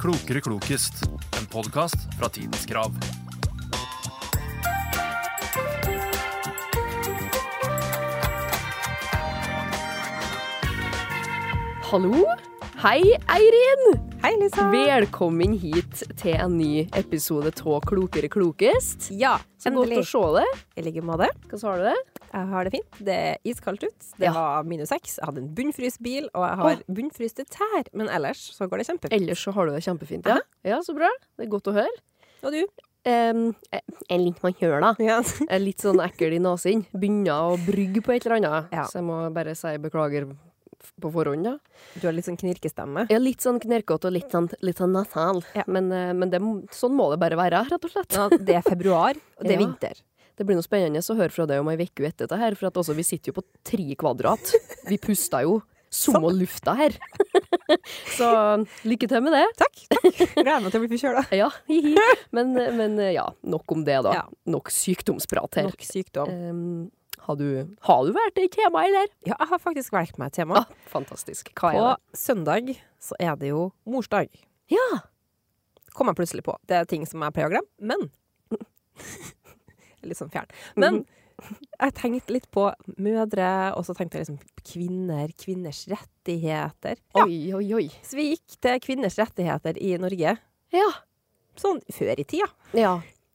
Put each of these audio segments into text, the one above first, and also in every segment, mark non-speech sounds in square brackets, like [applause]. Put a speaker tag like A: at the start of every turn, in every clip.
A: Klokere klokest, en podkast fra Tidens Krav.
B: Hallo! Hei, Eirin!
C: Hei, Lisa.
B: Velkommen hit til en ny episode av Klokere klokest.
C: Ja,
B: Så godt å se deg.
C: I like måte.
B: Hvordan har du det?
C: Jeg har det fint. Det er iskaldt ut. Det
B: Ja.
C: var minus seks. Jeg hadde en bunnfryst bil, og jeg har bunnfryste tær. Men ellers så går det kjempefint.
B: Ellers så har du det kjempefint. Ja, ja så bra. Det er godt å høre.
C: Og du?
B: Em, eh, jeg jeg liker meg høla.
C: [laughs] Ja.
B: Jeg er litt sånn ekkel i nesen. Begynner å brygge på et eller annet.
C: Ja.
B: Så jeg må bare si beklager på forhånd, da.
C: Du har litt sånn knirkestemme.
B: Jeg er litt sånn knerkete og litt sånn, litt sånn nasal.
C: Ja.
B: Men, eh, men det, sånn må det bare være, rett og slett.
C: Ja, det er februar, og det er
B: Ja.
C: vinter.
B: Det blir noe spennende å høre fra deg om ei uke etter dette her, for at altså, vi sitter jo på tre kvadrat. Vi puster jo som og lufta her. [laughs] Så lykke til med det.
C: Takk. takk. [laughs] Gleder meg til å bli forkjøla.
B: Ja, hihi. Men, men ja, nok om det, da.
C: Ja.
B: Nok sykdomsprat her.
C: Nok sykdom.
B: Em, har, du, har du vært i tema, eller?
C: Ja, jeg har faktisk valgt meg et tema.
B: Ah, fantastisk. Hva er
C: På
B: det?
C: søndag så er det jo morsdag.
B: Ja.
C: Kom jeg plutselig på. Det er ting som jeg pleier å glemme, men [laughs] Litt sånn fjern. Men jeg tenkte litt på mødre, og så tenkte jeg liksom kvinner, kvinners rettigheter. Ja,
B: Oi, oi, oi.
C: så vi gikk til kvinners rettigheter i Norge
B: Ja.
C: sånn før i tida.
B: ja.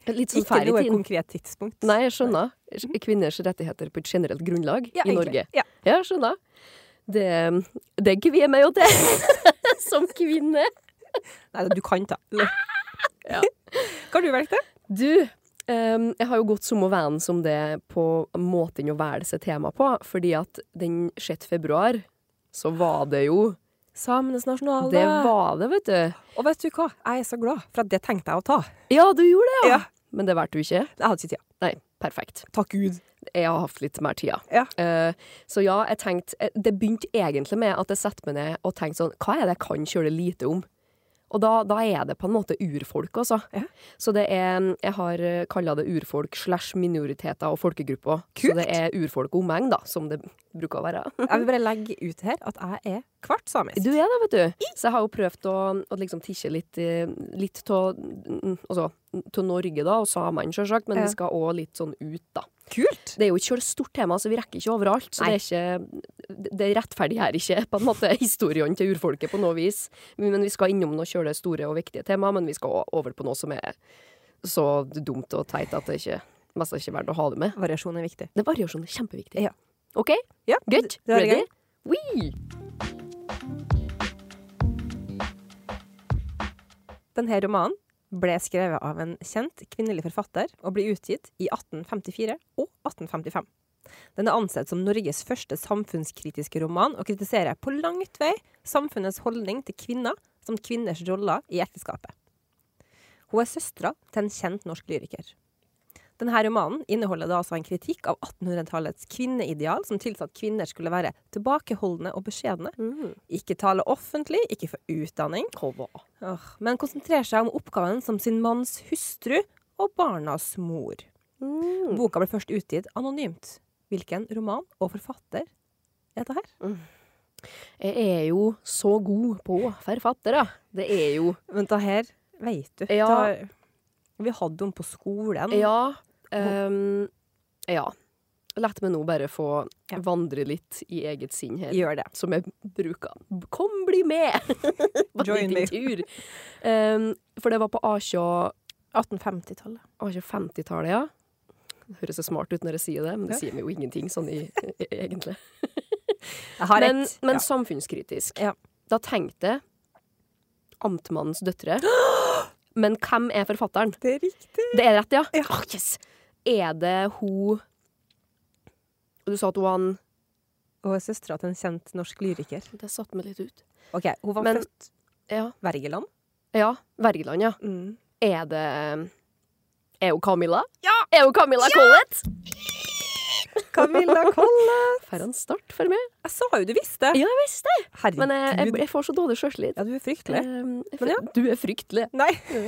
B: Litt sånn
C: Ikke
B: fæl i
C: noe
B: tiden.
C: konkret tidspunkt.
B: Nei, jeg skjønner. Kvinners rettigheter på et generelt grunnlag
C: Ja,
B: i
C: egentlig.
B: Norge.
C: Ja.
B: Ja, skjønner. Det, det kvier meg jo til [laughs] som kvinne.
C: Nei, du kan
B: [laughs]
C: ta
B: Ja.
C: Hva har du valgt, det?
B: Du, ehm, jeg har jo gått som å vane som det på måten å velge seg tema på, fordi at den 6. februar så var det jo
C: Samenes nasjonaldag.
B: Det var det, vet du.
C: Og vet du hva? Jeg er så glad, for at det tenkte jeg å ta.
B: Ja, du gjorde det, ja.
C: Ja.
B: Men det valgte du ikke.
C: Jeg hadde ikke tida.
B: Nei, perfekt.
C: Takk Gud.
B: Jeg har hatt litt mer tida.
C: Ja.
B: Eh, så ja, jeg tenkte eh, Det begynte egentlig med at jeg satte meg ned og tenkte sånn Hva er det jeg kan kjøre lite om? Og da, da er det på en måte urfolk, altså.
C: Ja.
B: Så det er Jeg har kalla det urfolk slash minoriteter og folkegrupper.
C: Kult.
B: Så det er urfolk og omegn, da, som det bruker å
C: [laughs]
B: være.
C: Jeg vil bare legge ut her at jeg er kvart samisk.
B: Du er det, vet du. Så jeg har jo prøvd å, å liksom tikke litt i- Litt av altså, til Norge, da, og samene, sjølsagt, men
C: Ja.
B: vi skal òg litt sånn ut, da.
C: Kult!
B: Det er jo et kjølig stort tema, så vi rekker ikke overalt. Så
C: Nei.
B: det er ikke Det rettferdiggjør ikke på en måte [laughs] historiene til urfolket på noe vis. Men vi skal innom noe kjølig store og viktige tema, men vi skal også over på noe som er så dumt og teit at det ikke mest ikke er verdt å ha det med.
C: Variasjon er viktig.
B: Det er variasjon er kjempeviktig.
C: Ja.
B: OK?
C: Ja,
B: Good?
C: da er det
B: Ready?
C: gang.
B: Wee!
C: Denne romanen ble skrevet av en kjent kvinnelig forfatter og ble utgitt i 1854 og 1855. Den er ansett som Norges første samfunnskritiske roman og kritiserer på langt vei samfunnets holdning til kvinner samt kvinners roller i ekteskapet. Hun er søstera til en kjent norsk lyriker. Denne romanen inneholder da altså en kritikk av 1800-tallets kvinneideal som tilsa at kvinner skulle være tilbakeholdne og beskjedne,
B: Mm.
C: ikke tale offentlig, ikke få utdanning, Åh, men konsentrerer seg om oppgaven som sin manns hustru og barnas mor.
B: Mm.
C: Boka ble først utgitt anonymt. Hvilken roman og forfatter er dette her?
B: Jeg er jo så god på forfattere. Det er jo
C: Men det her vet du.
B: Ja.
C: Da- vi hadde henne på skolen.
B: Ja.
C: Mm.
B: ehm, ja. La meg nå bare få
C: Ja.
B: vandre litt i eget sinn her.
C: Gjør det.
B: Som jeg bruker. Kom, bli med! [laughs] På
C: Join
B: Join
C: me.
B: me. Tur. Ehm, for det var på Asja
C: 1850-tallet.
B: Asja 50-tallet, ja. Det høres så smart ut når jeg sier det, men det sier meg jo ingenting sånn i, i, egentlig.
C: Jeg har
B: Men,
C: rett.
B: men
C: ja.
B: samfunnskritisk.
C: Ja.
B: Da tenkte jeg Amtmannens døtre. Men hvem er forfatteren?
C: Det er riktig.
B: Det er rett, ja?
C: Ja.
B: Åh, yes. Er det hun Du sa at hun var en
C: Og er søstera til en kjent norsk lyriker.
B: Det satte meg litt ut.
C: Ok, Hun var
B: Men-
C: født
B: Ja.
C: Wergeland.
B: ja Wergeland, ja.
C: Mm.
B: Er det eh, Er hun Camilla? Ja! Er hun Camilla Collett?
C: Camilla
B: [laughs]
C: Collett.
B: For en start for meg.
C: Jeg sa jo du visste!
B: Ja, jeg visste det!
C: Herregud.
B: Men eh, jeg, jeg, jeg får så dårlig sjøltillit.
C: ja, du er fryktelig.
B: Ehm, jeg
C: Men ja.
B: fry- Du er fryktelig. [laughs]
C: Nei.
B: Jeg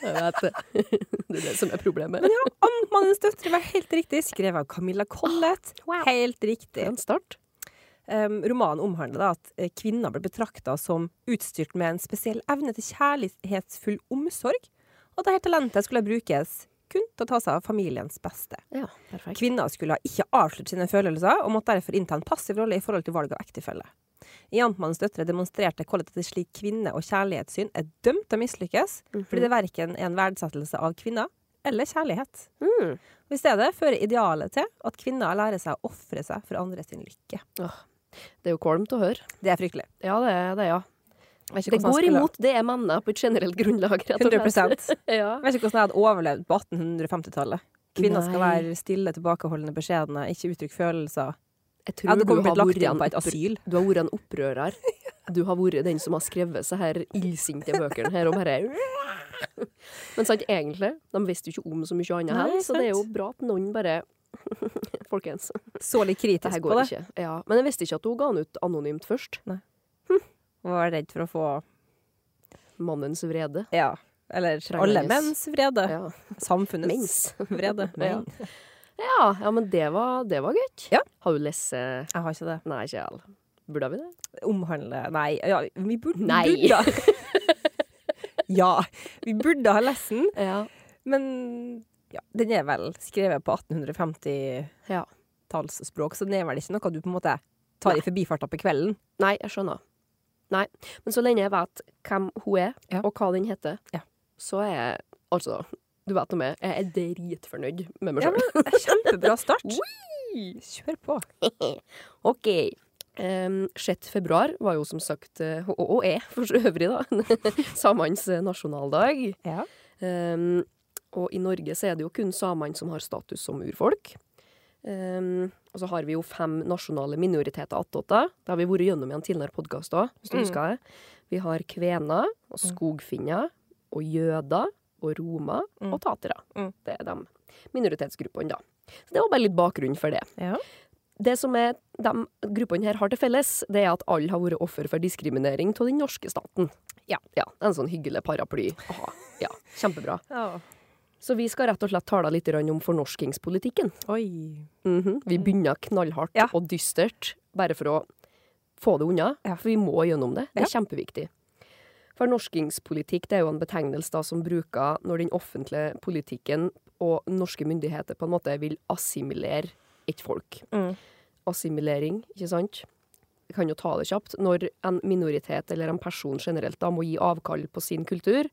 B: vet [laughs] det. Det er det som er problemet.
C: Men ja, Amtmannens døtre var helt riktig, skrevet av Camilla Collett.
B: Ah, Wow.
C: Helt
B: For
C: riktig.
B: en start.
C: Em, romanen omhandler da at eh, kvinner ble betrakta som utstyrt med en spesiell evne til kjærlighetsfull omsorg, og at dette talentet skulle brukes kun til å ta seg av familiens beste.
B: Ja, perfekt.
C: Kvinner skulle ikke avslutte sine følelser, og måtte derfor innta en passiv rolle i forhold til valg av ektefelle. Jantmannens døtre demonstrerte hvordan et slikt kvinne- og kjærlighetssyn er dømt til å mislykkes,
B: Mhm.
C: fordi det verken er en verdsettelse av kvinner eller kjærlighet.
B: Mm.
C: Og I stedet fører idealet til at kvinner lærer seg å ofre seg for andre sin lykke.
B: Det er jo kvalmt å høre.
C: Det er fryktelig.
B: Ja, det er det, ja. Det
C: Jeg vet ikke hvordan jeg
B: går
C: skulle-
B: imot det jeg mener på et generelt grunnlag, rett og
C: 100
B: slett. Ja.
C: Jeg vet ikke hvordan jeg hadde overlevd på 1850-tallet. Kvinner skal
B: Nei.
C: være stille, tilbakeholdne, beskjedne, ikke uttrykke følelser.
B: Jeg
C: Jeg
B: tror du
C: hadde kommet
B: har
C: blitt lagt
B: vært
C: inn på et
B: en,
C: asyl.
B: du har vært en opprører. Du har vært den som har skrevet så her illsinte bøkene her og bare Men sant, egentlig, de visste jo ikke om så mye annet
C: Nei,
B: her, så det er jo
C: sant.
B: bra at noen bare [laughs] Folkens,
C: Så litt
B: det
C: kritisk
B: her
C: på
B: går
C: det.
B: ikke. Ja, men jeg visste ikke at hun ga den ut anonymt først.
C: Og var redd for å få
B: Mannens vrede.
C: Ja. Eller
B: Trangende.
C: alle menns vrede.
B: Ja,
C: Samfunnets
B: Mens.
C: [laughs] vrede.
B: Ja.
C: Men
B: ja, ja men det var, det var gøyt.
C: Ja.
B: Har du lest eh,
C: Jeg har ikke det.
B: Nei, ikke all. Burde vi det?
C: Omhandle Nei. Ja, vi burde
B: Nei.
C: [laughs] Burde. ja. Vi burde ha lest den,
B: Ja.
C: men ja, den er vel skrevet på 1850-tallsspråk,
B: ja.
C: så den er vel ikke noe du på en måte tar i forbifarta på kvelden.
B: Nei, jeg skjønner. Nei. Men så lenge jeg vet hvem hun er,
C: Ja.
B: og hva den heter,
C: Ja.
B: så er jeg Altså, du vet nå meg, jeg er dritfornøyd med meg
C: Ja,
B: sjøl.
C: men, kjempebra [laughs] start. Kjør på.
B: OK. Em, 6. februar var jo som sagt, eh, og og er for så øvrig, da, [laughs] samenes eh, nasjonaldag.
C: Ja.
B: Em, Ehm, og i Norge så er det jo kun samene som har status som urfolk. Em, og så har vi jo fem nasjonale minoriteter attåt. da. Det har vi vært gjennom i en tidligere podkast òg, hvis du
C: Mm.
B: husker det. Vi har kvener og skogfinner og jøder og romer
C: Mm.
B: og tatere.
C: Mm.
B: Det er de minoritetsgruppene, da. Så det var bare litt bakgrunn for det.
C: Ja.
B: Det som er de gruppene her har til felles, det er at alle har vært offer for diskriminering av den norske staten.
C: Ja.
B: ja en sånn hyggelig paraply. Aha, ja, kjempebra.
C: Ja.
B: Så vi skal rett og slett tale litt grann om fornorskingspolitikken.
C: Oi.
B: Mhm. Vi begynner knallhardt
C: Ja.
B: og dystert, bare for å få det unna.
C: Ja.
B: For vi må gjennom det. Det er kjempeviktig. Fornorskingspolitikk det er jo en betegnelse da, som bruker når den offentlige politikken og norske myndigheter på en måte vil assimilere et folk.
C: Mm.
B: Assimilering, ikke sant? Vi kan jo ta det kjapt. Når en minoritet eller en person generelt da må gi avkall på sin kultur,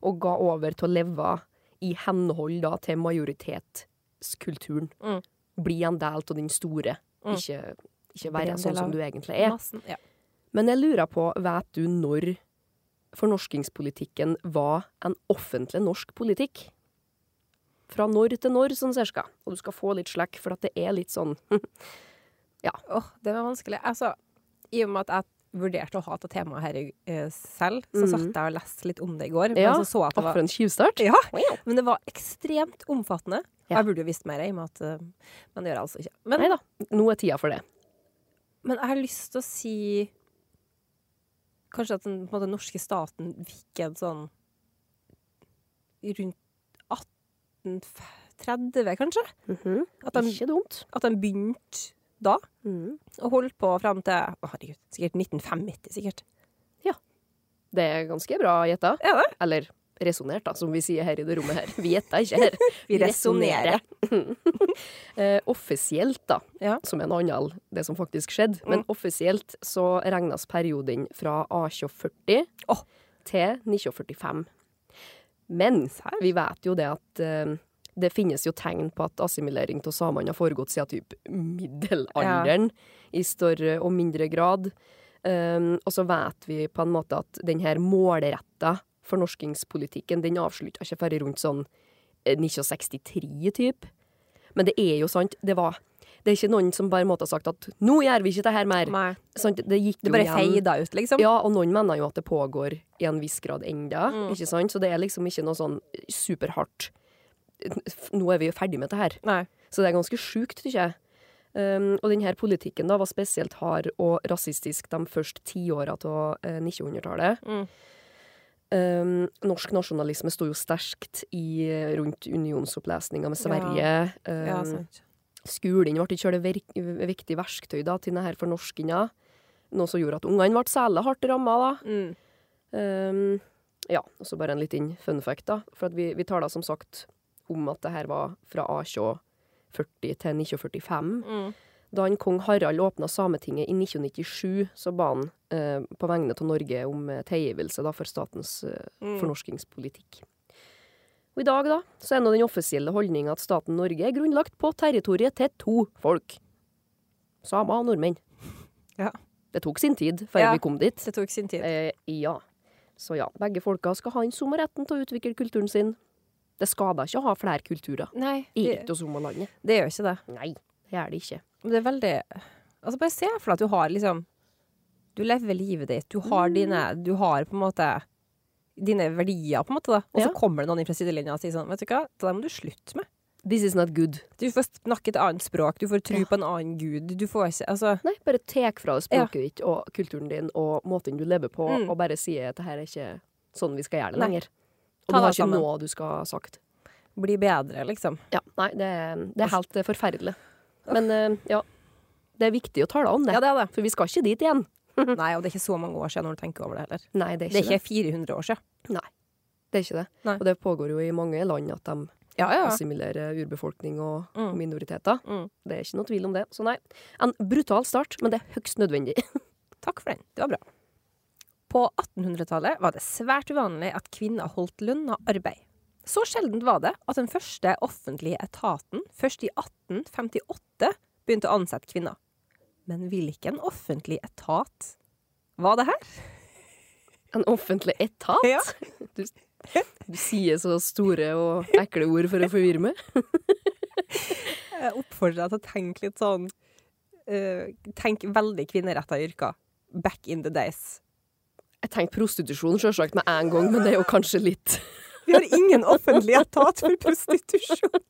B: og ga over til å leve i henhold da til majoritetskulturen.
C: Mm.
B: Bli en del av den store,
C: Mm.
B: ikke, ikke
C: Bli
B: være
C: en del
B: sånn som
C: av
B: du egentlig er.
C: Massen. Ja.
B: Men jeg lurer på, vet du når fornorskingspolitikken var en offentlig norsk politikk? Fra når til når, sånn cirka. Og du skal få litt slekk, for at det er litt sånn
C: Åh, det var vanskelig. Altså, I og med at jeg vurderte å ha tatt temaet her eh, selv, så
B: Mhm.
C: satt jeg og leste litt om det i går.
B: Ja.
C: Men så så jeg at
B: Å,
C: det
B: for
C: var,
B: en tjuvstart!
C: ja, men det var ekstremt omfattende.
B: Ja.
C: Jeg burde jo visst mer, i og med at eh, Men det gjør jeg altså ikke. Men,
B: Nei da, nå er tida for det.
C: men jeg har lyst til å si Kanskje at den på en måte, norske staten fikk en sånn Rundt 1830, kanskje? At de,
B: Ikke dumt.
C: at de begynte da, og holdt på fram til å, herregud, sikkert 1995. sikkert.
B: Det er ganske bra gjetta.
C: Er det?
B: Eller resonnert, da, som vi sier her i det rommet her. Vi gjetter ikke her.
C: [laughs] Vi resonnerer. [laughs]
B: Eh, offisielt, da,
C: Ja. Mm.
B: som er noe annet enn det som faktisk skjedde, men offisielt så regnes perioden fra A240
C: Åh.
B: til 1945. Men
C: Serr?
B: vi vet jo det at eh, det finnes jo tegn på at assimilering av samene har foregått siden typ middelalderen i større og mindre grad. Um, og så vet vi på en måte at den her målretta fornorskingspolitikken den avslutta ikke før i rundt sånn eh, 1963, typ. Men det er jo sant, det var Det er ikke noen som bare måtte ha sagt at 'nå gjør vi ikke det her mer'.
C: Nei.
B: Sant? Det gikk
C: Det
B: jo
C: bare
B: igjen.
C: feida ut, liksom.
B: Ja, og noen mener jo at det pågår i en viss grad enda,
C: Mm.
B: ikke sant? Så det er liksom ikke noe sånn superhardt Nå er vi jo ferdig med det her.
C: Nei.
B: Så det er ganske sjukt, tykker jeg. Um, og denne politikken da var spesielt hard og rasistisk de første tiåra av eh, 1900-tallet.
C: Mm.
B: Um, norsk eh, nasjonalisme sto jo sterkt i, rundt unionsopplesninga med Sverige.
C: Ja,
B: um,
C: sant.
B: Skolen ble ikke selv et verk- viktig verktøy da, til denne fornorskinga, noe som gjorde at ungene ble særlig hardt ramma. da.
C: Mm.
B: Ehm, ja, og så bare en liten fun fact, da. For at vi, vi taler som sagt om at det her var fra A2040 til 1945.
C: Mm.
B: Da en kong Harald åpna Sametinget i 1997, så ba han eh, på vegne av Norge om eh, tilgivelse da, for statens eh,
C: Mm.
B: fornorskingspolitikk. Og I dag da, så er nå den offisielle holdninga at staten Norge er grunnlagt på territoriet til to folk. Samer og nordmenn.
C: Ja.
B: Det tok sin tid før
C: Ja.
B: vi kom dit.
C: Det tok sin tid.
B: Eh, ja. Så ja, begge folka skal ha den samme retten til å utvikle kulturen sin. Det skader ikke å ha flere kulturer.
C: Nei,
B: I
C: det,
B: ikke oss om og landet.
C: det gjør ikke det.
B: Nei, det er det ikke.
C: Men det er veldig Altså Bare se for deg at du har liksom Du lever livet ditt. Du har dine Du har på en måte dine verdier, på en måte. da Og så
B: Ja.
C: kommer det noen inn fra sidelinja og sier sånn Vet du hva, det der må du slutte med.
B: This is not good.
C: Du får snakke et annet språk, du får tro på en annen gud. Du får ikke Altså
B: Nei, bare tek fra deg språket ditt og kulturen din og måten du lever på,
C: Mm.
B: og bare sier at det her er ikke sånn vi skal gjøre det
C: Nei.
B: lenger. Og
C: Ta
B: du har
C: deg
B: ikke
C: sammen.
B: noe du skal ha sagt.
C: bli bedre, liksom.
B: Ja, nei, det, er-
C: Altså-
B: det er helt eh, forferdelig. Men eh, ja, det er viktig å tale om det.
C: Ja, det er det.
B: For vi skal ikke dit igjen.
C: Nei, og det er ikke så mange år siden når du tenker over Mhm. det heller.
B: Nei, det er
C: Det
B: ikke
C: er
B: det.
C: ikke 400 år siden.
B: Det, er ikke det.
C: Nei.
B: Og det pågår jo i mange land at de
C: Ja, ja.
B: assimilere urbefolkning og
C: Mm.
B: minoriteter.
C: Mm.
B: Det er ikke noe tvil om det. Så nei, en brutal start, men det er høyst nødvendig. [laughs]
C: Takk for den. Det var bra. På 1800-tallet var det svært uvanlig at kvinner holdt lønna arbeid. Så sjeldent var det at den første offentlige etaten først i 1858 begynte å ansette kvinner. Men hvilken offentlig etat var det her?
B: En offentlig etat?
C: Ja.
B: Du, du sier så store og ekle ord for å forvirre meg.
C: Jeg oppfordrer deg til å tenke litt sånn eh, Tenk veldig kvinneretta yrker. Back in the days.
B: Jeg tenkte prostitusjon selvsagt med en gang, men det er jo kanskje litt [laughs]
C: Vi har ingen offentlig etat for prostitusjon.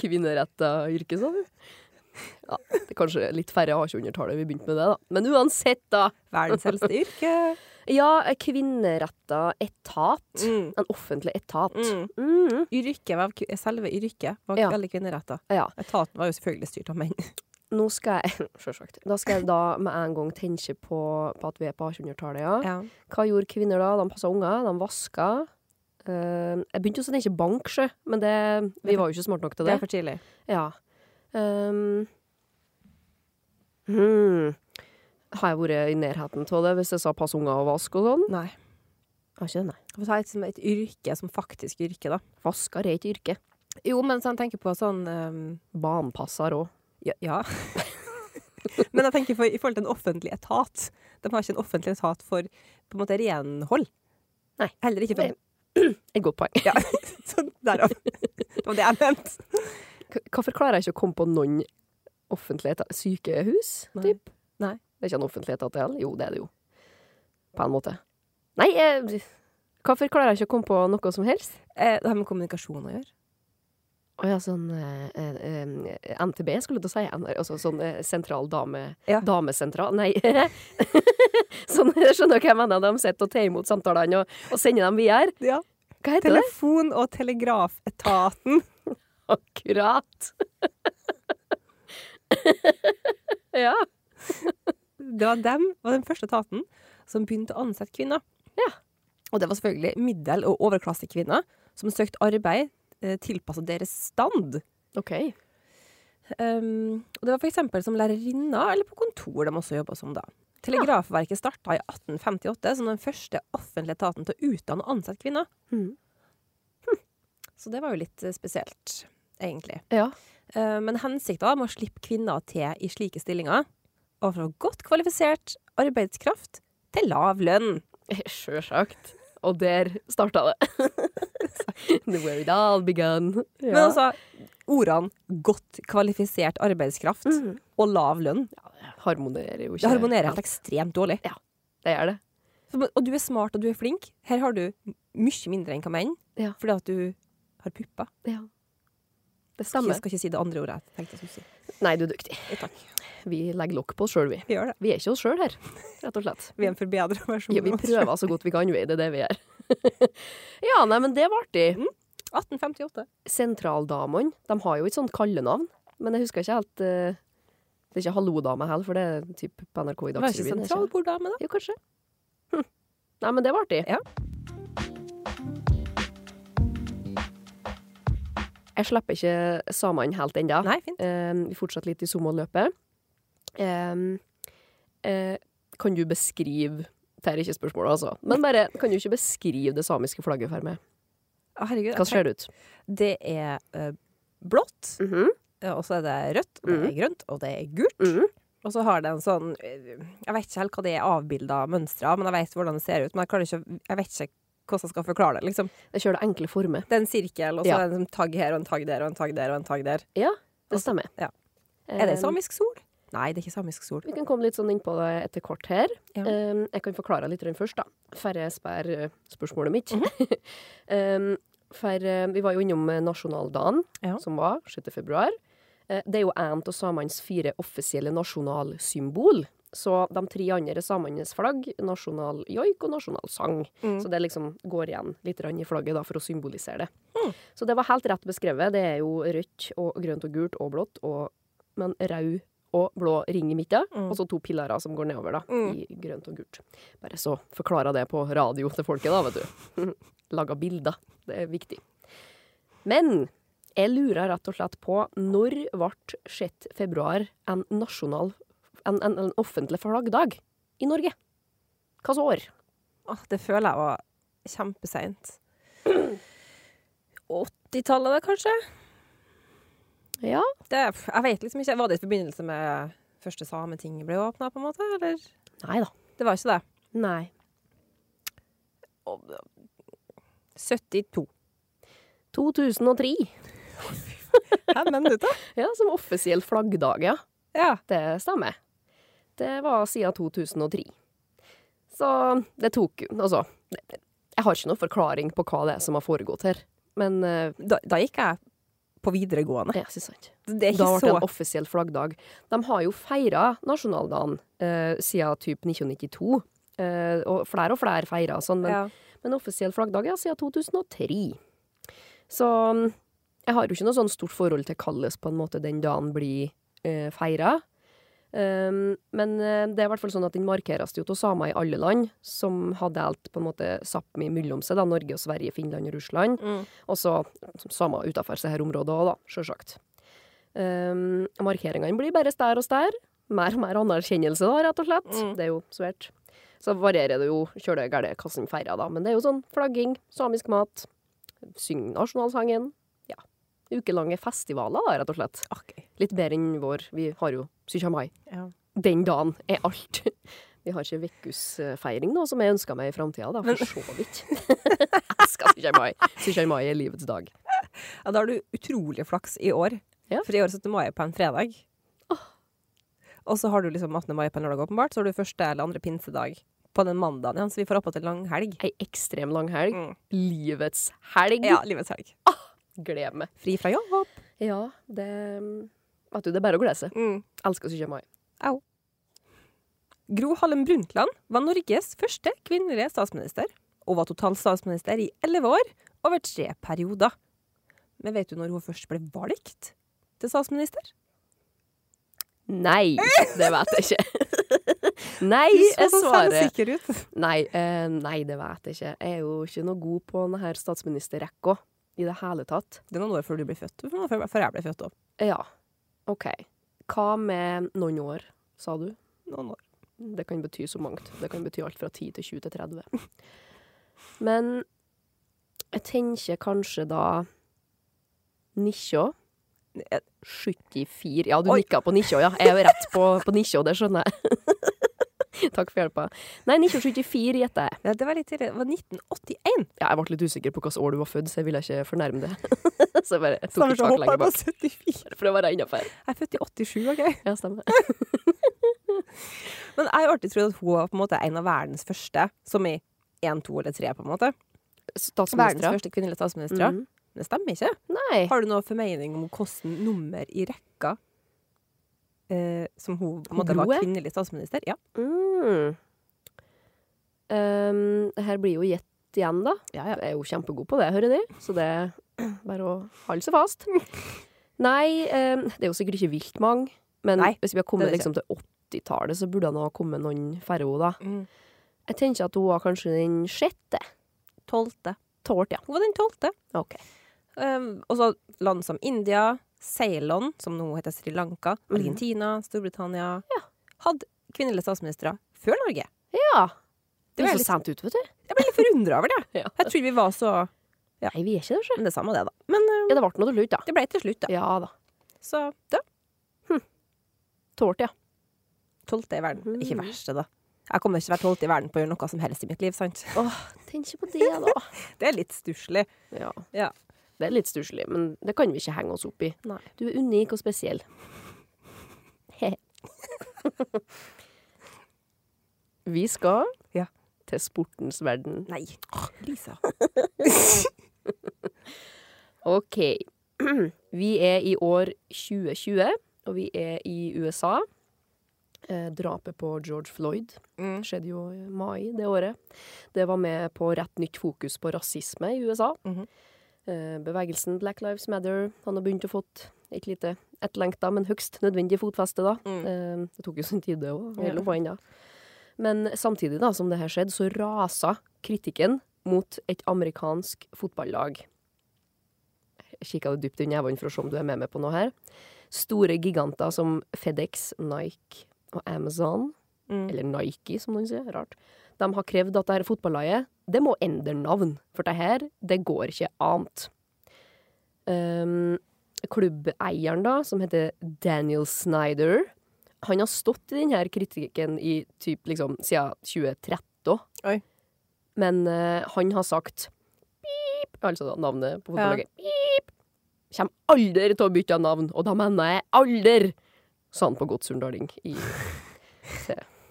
B: kvinneretta yrke, sa du? Ja, det er kanskje litt færre har 100-tallet vi begynte med det, da. Men uansett, da.
C: Verdens eldste yrke.
B: Ja, kvinneretta etat.
C: Mm.
B: En offentlig etat.
C: Mm.
B: Mm.
C: yrket var, selve yrket var
B: Ja.
C: veldig kvinneretta.
B: Ja.
C: Etaten var jo selvfølgelig styrt av menn.
B: nå skal jeg [laughs] Sjølsagt. Da skal jeg da med en gang tenke på, på at vi er på 1800-tallet, ja. Hva gjorde kvinner da? De passa unger, de vaska. Eh, jeg begynte også å tenke bank, sjø, men det, vi var jo ikke smarte nok til
C: Det
B: det.
C: er for tidlig.
B: Ja. Ehm. hmm. Har jeg vært i nærheten av det hvis jeg sa passe unger og vask og sånn?
C: Nei.
B: Jeg har ikke det, nei.
C: Vi får ta et, som et yrke som faktisk yrke, da.
B: Vasker er ikke yrke.
C: Jo, men sånn, tenker på sånn ehm,
B: Banepasser òg.
C: Ja. ja. [laughs] men jeg tenker for, i forhold til en offentlig etat. De har ikke en offentlig etat for på en måte renhold.
B: Nei.
C: Heller ikke [laughs] for
B: Nei. Et godt poeng. [laughs]
C: ja. Så derav. Det var det jeg mente.
B: K- Hvorfor klarer jeg ikke å komme på noen offentlige eta- sykehus?
C: Nei.
B: Typ?
C: Nei.
B: Det er ikke en offentlig etat det heller? Jo, det er det jo. På en måte. Nei, jeg, hvorfor klarer jeg ikke å komme på noe som helst?
C: Eh, det har med kommunikasjon å gjøre.
B: Å ja, sånn eh, eh, eh, NTB skulle du si. NR, altså sånn eh, sentral dame...
C: Ja.
B: Damesentral Nei. [laughs] sånn, jeg skjønner hva jeg mener. De sitter og tar imot samtalene og, og sender dem videre.
C: Ja.
B: Hva heter det?
C: Telefon- og telegrafetaten.
B: Akkurat. [laughs] ja.
C: Det var dem, var den første etaten som begynte å ansette kvinner.
B: Ja.
C: Og det var selvfølgelig middel- og overklassekvinner som søkte arbeid eh, tilpasset deres stand.
B: OK.
C: Um, og det var f.eks. som lærerinner eller på kontor de også jobba som da. Telegrafverket starta i 1858 som den første offentlige etaten til å utdanne og ansette kvinner.
B: Mhm.
C: Hm. Så det var jo litt eh, spesielt, egentlig.
B: Ja.
C: Eh, Men hensikten med å slippe kvinner til i slike stillinger og fra godt kvalifisert arbeidskraft til lav lønn.
B: [laughs] Sjølsagt. Og der starta det. [laughs] The where it all began. Ja.
C: Men altså, ordene 'godt kvalifisert arbeidskraft' og 'lav lønn'
B: harmonerer jo ikke.
C: Mhm. det harmonerer helt ekstremt dårlig.
B: Det gjør det.
C: Så, men- Og du er smart og du er flink. Her har du mye mindre enn hva menn,
B: Ja.
C: fordi at du har pupper.
B: Ja. Det
C: Jeg
B: stemmer.
C: skal ikke si det andre ordet jeg tenkte jeg skulle si.
B: Nei, du er dyktig.
C: Ja, Takk.
B: Vi legger lokk på oss sjøl, vi.
C: Vi gjør det.
B: Vi er ikke oss sjøl her, rett og slett.
C: Vi er en forbedra versjon.
B: Ja, vi
C: av oss selv.
B: prøver så godt vi kan, vi. Det er det vi gjør. [laughs] ja,
C: Mm.
B: nei, men det var artig.
C: 1858.
B: Sentraldamene, de har jo et sånt kallenavn. men jeg husker ikke helt eh, Det er ikke Hallo-dame heller, for det er typ på NRK i
C: Det var ikke
B: Dagsrevyen. er det ikke?
C: sentralborddame, da?
B: Jo, kanskje. [laughs] Hm. Nei, men det var artig.
C: Ja.
B: Jeg slipper ikke samene helt ennå.
C: Nei, fint.
B: Eh, vi fortsatte litt i sumo-løpet. Eh, eh, kan du beskrive Det er ikke spørsmålet, altså. Men bare, kan du ikke beskrive det samiske flagget for meg?
C: Å, Herregud,
B: Hva ser det ut?
C: Det er eh, blått,
B: Mhm,
C: eh, og så er det rødt, og det er grønt, og det er gult.
B: mhm.
C: Og så har det en sånn eh, Jeg vet ikke helt hva det er avbilda mønstre av, men jeg vet hvordan det ser ut. Men jeg, klarer ikke, jeg vet ikke hvordan jeg skal forklare det. liksom.
B: Jeg kjører det enkle former.
C: Det er en sirkel, og så
B: Ja.
C: er det en tagg her og en tagg der og en tagg der. og en tagg der.
B: Ja, det
C: Altså,
B: stemmer.
C: ja. Er det
B: Eh,
C: samisk sol? Nei, det er ikke samisk sol.
B: Vi kan komme litt sånn inn på det etter kort her.
C: Ja.
B: Um, jeg kan forklare litt rundt først, da. Før jeg spør uh, spørsmålet mitt.
C: Mhm.
B: [laughs] um, for uh, vi var jo innom uh, nasjonaldagen,
C: Ja.
B: som var 6. februar. Eh, det er jo en av samenes fire offisielle nasjonalsymbol. Så de tre andre er samenes flagg, nasjonal joik og nasjonal sang.
C: Mm.
B: Så det liksom går igjen litt grann i flagget da, for å symbolisere det.
C: Mm.
B: Så det var helt rett beskrevet. Det er jo rødt og grønt og gult og blått, og, men rød og blå ring i midten, og så to pilarer som går nedover da,
C: Mm.
B: i grønt og gult. Bare så forklarer jeg det på radio til folket da, vet du. [laughs] Laga bilder. Det er viktig. Men jeg lurer rett og slett på når ble 6. februar en nasjonal, en, en, en offentlig flaggdag i Norge? Hvilket år?
C: Åh, det føler jeg var kjempeseint. [clears throat] 80-tallet, da, kanskje?
B: Ja,
C: Det, jeg vet liksom ikke. Var det i forbindelse med første sameting ble åpna, på en måte? Eller?
B: nei da.
C: Det var ikke det.
B: Nei.
C: 72.
B: 2003,
C: Hæ, men du, da?
B: ja, som offisiell flaggdag, ja.
C: Ja.
B: Det stemmer. Det var siden 2003. Så det tok Altså, det- jeg har ikke noen forklaring på hva det er som har foregått her. Men eh,
C: Da, da gikk jeg på videregående.
B: ja, ikke sant.
C: Det er
B: Da ble
C: ikke
B: det
C: så
B: en offisiell flaggdag. De har jo feira nasjonaldagen eh, siden typ 1992. Eh, og flere og flere feirer sånn, men
C: Ja.
B: Men offisiell flaggdag er siden 2003. Så mm, jeg har jo ikke noe sånn stort forhold til hvordan på en måte den dagen blir eh, feira. Um, men eh, det er i hvert fall sånn at den markeres jo av samer i alle land, som har delt på en måte Sápmi mellom seg, da, Norge og Sverige, Finland og Russland.
C: Mm.
B: Og så samer utenfor seg her området òg, da, sjølsagt. Um, markeringene blir bare stær og stær. Mer og mer anerkjennelse, da, rett og slett.
C: Mm.
B: Det er jo svært. Så varierer det jo kjøle gæle hva som feirer, da. Men det er jo sånn flagging, samisk mat, syng nasjonalsangen. Ja. Ukelange festivaler, da, rett og slett.
C: Ok.
B: Litt bedre enn vår. Vi har jo 17. mai.
C: Ja.
B: Den dagen er alt. Vi har ikke vekkehusfeiring nå, som jeg ønsker meg i framtida, da.
C: Men-
B: For så vidt. [laughs] Jeg elsker 17. mai. 17. mai er livets dag.
C: Ja, da har du utrolig flaks i år.
B: Ja.
C: For i år 17. mai er på en fredag. Og så har du liksom 18. mai på en lørdag, åpenbart. Så har du første eller andre pinsedag på den mandagen igjen, så vi får opp til lang helg.
B: Ei ekstrem lang helg.
C: Mm.
B: Livets helg.
C: Ja, livets helg.
B: Gled meg.
C: Fri fra jobb.
B: Ja, det Vet du, det er bare å glede seg.
C: Mm.
B: Elsker 17. mai.
C: Gro Harlem Brundtland var Norges første kvinnelige statsminister, og var total statsminister i elleve år, over tre perioder. Men vet du når hun først ble valgt til statsminister?
B: Nei, det vet jeg ikke. [laughs] Nei,
C: Du
B: jeg
C: så så
B: svarer
C: selvsikker ut.
B: Nei, eh, nei, det vet jeg ikke. Jeg er jo ikke noe god på denne statsministerrekka i det hele tatt.
C: Det er noen år før du ble født. Det var noen år Før før jeg ble født òg.
B: Ja, OK. Hva med noen år, sa du?
C: Noen år.
B: Det kan bety så mangt. Det kan bety alt fra 10 til 20 til 30. [laughs] Men jeg tenker kanskje da Nisjå. 74 Ja, du
C: Oi.
B: nikka på Nisjå, ja. Jeg er jo rett på, på Nisjå, det skjønner jeg. [laughs] Takk for hjelpa. Nei, Nisjå 74 gjetter jeg.
C: Ja, det var litt tidlig. Det var 1981.
B: Ja, jeg ble litt usikker på hvilket år du var født, så jeg ville ikke fornærme det. [laughs] så jeg bare tok et
C: Stakkars, jeg
B: tak
C: hopper
B: lenger
C: på
B: bak.
C: 74.
B: For å være innafor.
C: Jeg er født i 87, OK?
B: Ja, stemmer.
C: Men jeg har jo alltid trodd at hun var på en måte en av verdens første, som i én, to eller tre, på en måte. Verdens
B: Statsminister.
C: første kvinnelige statsminister.
B: Mhm.
C: Det stemmer ikke.
B: Nei.
C: Har du noe formening om hvilket nummer i rekka eh, som hun på en måte
B: Gro
C: var
B: er?
C: kvinnelig statsminister? Ja.
B: Mm. Um, det her blir jo gjett igjen, da. Jeg er jo kjempegod på det, hører de. Så det er bare å holde seg fast. Nei, eh, det er jo sikkert ikke vilt mange. Men
C: Nei,
B: hvis vi har kommet
C: det er det
B: liksom, til 80-tallet, så burde det ha kommet noen færre hun da.
C: Mm.
B: Jeg tenker at hun var kanskje den sjette.
C: Tolvte.
B: Tålt, ja.
C: Hun var den tolvte.
B: Ok.
C: Um, og så land som India, Ceylon, som nå heter Sri Lanka,
B: Mhm.
C: Argentina, Storbritannia
B: Ja.
C: Hadde kvinnelige statsministre før Norge.
B: Ja.
C: Det
B: Det
C: var
B: er så
C: litt-
B: sent ut, vet du.
C: Jeg ble litt forundra over det.
B: [laughs] Ja.
C: Jeg trodde vi var så
B: Nei, vi er ikke det, sjø.
C: Men det er samme det, da. Men um,
B: Ja, det ble noe lurt, da.
C: det ble til slutt, da.
B: Ja da.
C: Så da,
B: Tålt, ja.
C: tolvte i verden.
B: Mhm.
C: Ikke verste, da. Jeg kommer ikke til å være tolvte i verden på å gjøre noe som helst i mitt liv, sant? [laughs]
B: Tenk ikke på det, da.
C: Det er litt stusslig.
B: Ja.
C: Ja.
B: Det er litt stusslig, men det kan vi ikke henge oss opp i.
C: Nei.
B: Du er unik og spesiell. He. [laughs] vi skal
C: Ja.
B: til sportens verden.
C: Nei. Lisa.
B: OK. [clears throat] Vi er i år 2020, og vi er i USA. Eh, drapet på George Floyd
C: Mm.
B: skjedde jo i mai det året. Det var med på rett nytt fokus på rasisme i USA.
C: Mhm.
B: Eh, Bevegelsen Black Lives Matter han har begynt å fått et lite etterlengta, men høgst nødvendig fotfeste, da.
C: Mm.
B: Eh, Det tok jo sin tid, det òg.
C: Ja.
B: Men samtidig da, som det her skjedde, så rasa kritikken mot et amerikansk fotballag. Jeg kikka dypt i nevene for å se om du er med meg på noe her. Store giganter som FedEx, Nike og Amazon
C: Mm.
B: eller Nike, som noen sier. Rart. De har krevd at dette fotballaget det må endre navn, for det her det går ikke annet. Ehm, klubbeieren, da, som heter Daniel Snyder, han har stått i denne kritikken i typ, liksom, siden 2013.
C: Oi.
B: Men eh, han har sagt pip, altså da, navnet på fotballaget. Pip! Kommer aldri til å bytte navn, og da mener jeg aldri! Sa han på godt sunndaling i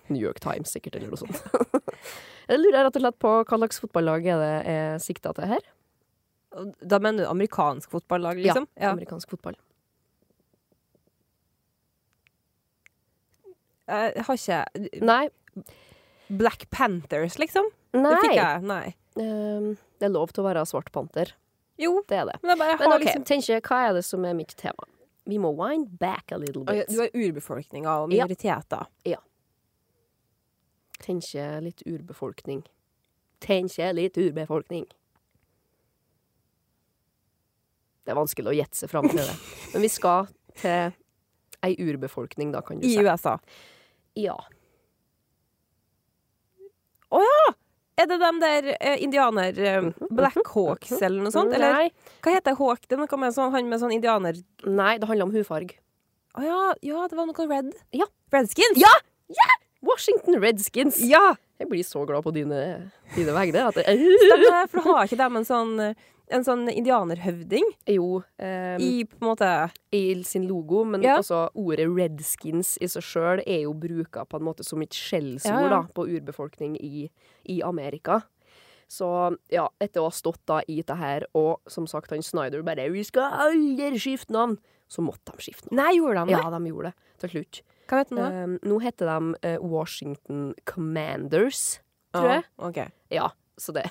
B: New York Times sikkert, eller noe sånt. [laughs] jeg lurer rett og slett på hva slags fotballag er det er sikta til her?
C: Og Da mener du amerikansk fotballag,
B: Ja,
C: liksom?
B: Amerikansk fotball.
C: Jeg Eh, har ikke
B: Nei.
C: Black Panthers, liksom?
B: Nei.
C: Det fikk jeg. Nei.
B: Ehm, det er lov til å være svart panter.
C: Jo,
B: Det er det.
C: men jeg bare
B: Men
C: har
B: OK,
C: liksom
B: tenker, hva er det som er mitt tema? Vi må wind back a little
C: Oi,
B: bit.
C: Du er urbefolkninga og
B: Ja.
C: minoriteter.
B: Tenker litt urbefolkning. Tenker litt urbefolkning. Det er vanskelig å gjette seg fram
C: [laughs]
B: til det. Men vi skal til ei urbefolkning, da, kan du
C: I
B: si.
C: USA.
B: Ja.
C: Er det de der eh, indianer... Eh, Blackhawks eller noe sånt? Eller
B: Mhm, Nei.
C: hva heter Hawk? Det er noe med sånn, han med sånn indianer...
B: Nei, det handler om hudfarge.
C: Å ja, ja, det var noe red.
B: Ja.
C: Redskins?
B: Ja! Washington Redskins.
C: Ja!
B: Jeg blir så glad på dine, dine vegne. At
C: Stemmer, for da har ikke de en sånn, en sånn indianerhøvding
B: [laughs] jo, eh,
C: i på en måte
B: i sin logo, men
C: Ja.
B: også ordet Redskins i seg sjøl er jo bruka på en måte som et skjellsord
C: Ja, ja.
B: da, på urbefolkning i, i Amerika. Så ja, etter å ha stått da i det her, og som sagt han Snyder bare 'Vi skal aldri skifte navn', så måtte de skifte navn.
C: Nei, gjorde de det?
B: Ja, de gjorde det til slutt.
C: Hva heter den da?
B: Eh, nå heter de eh, Washington Commanders. tror jeg.
C: Ah, ok.
B: Ja, så det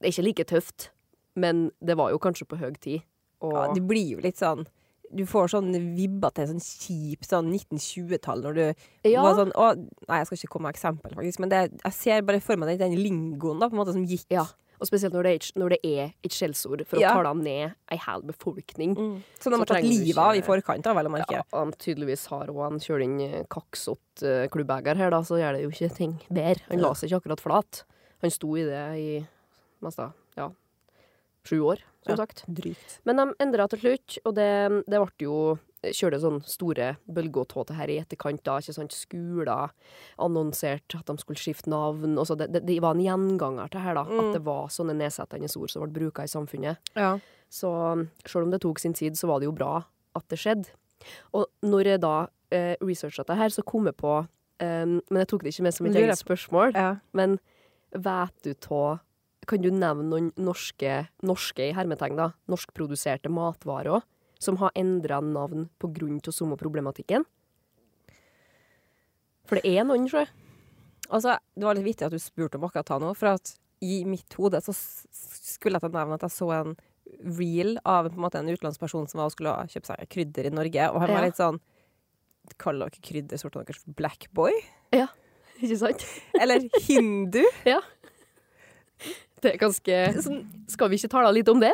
B: Det er ikke like tøft, men det var jo kanskje på høg tid. Og
C: Ja, det blir jo litt sånn Du får sånn vibber til sånn kjip sånn 1920-tall når du
B: Ja,
C: var sånn å, Nei, jeg skal ikke komme med eksempel, faktisk, men det, jeg ser bare for meg den- den lingoen da, på en måte som gikk.
B: ja. Og spesielt når det er, et- når det er et skjellsord for
C: Ja.
B: å tale ned ei hel befolkning.
C: Mm. Som de
B: Så
C: har tatt
B: trenger du
C: livet av i
B: ikke-
C: forkant, da, vel å merke.
B: Ja, han tydeligvis har og han kjører inn eh, kaksott eh, klubbeier her, da, så gjør det jo ikke ting bedre. Han la seg ikke akkurat flat. Han sto i det i mest da, ja, sju år, som
C: Ja.
B: sagt.
C: Drygt.
B: Men de endra til slutt, og det, det ble jo Kjørte sånn store bølger av det her i etterkant. da, ikke sant, Skoler annonserte at de skulle skifte navn. og så det, det, det var en gjenganger til her, da.
C: Mm.
B: At det var sånne nedsettende ord som ble bruka i samfunnet.
C: Ja.
B: Så selv om det tok sin tid, så var det jo bra at det skjedde. Og når jeg da eh, researcha det her, så kom jeg på eh, Men jeg tok det ikke med som et
C: Lurer
B: eget spørsmål.
C: ja.
B: Men vet du ta Kan du nevne noen norske, norske i hermetegn, da, norskproduserte matvarer også, som har endra navn på grunn av sommerproblematikken? For det er noen, sjø.
C: Altså, det var litt vittig at du spurte om akkurat det nå, for at i mitt hode så s- skulle jeg til å nevne at jeg så en reel av på en, måte, en utenlandsperson som var og skulle ha- kjøpe seg krydder i Norge, og han var
B: Ja.
C: litt sånn Kaller dere kryddersortene deres for black boy?
B: [laughs] Ikke sant?
C: Eller hindu?
B: Det er ganske [laughs]
C: Sånn,
B: Skal vi ikke tale litt om det?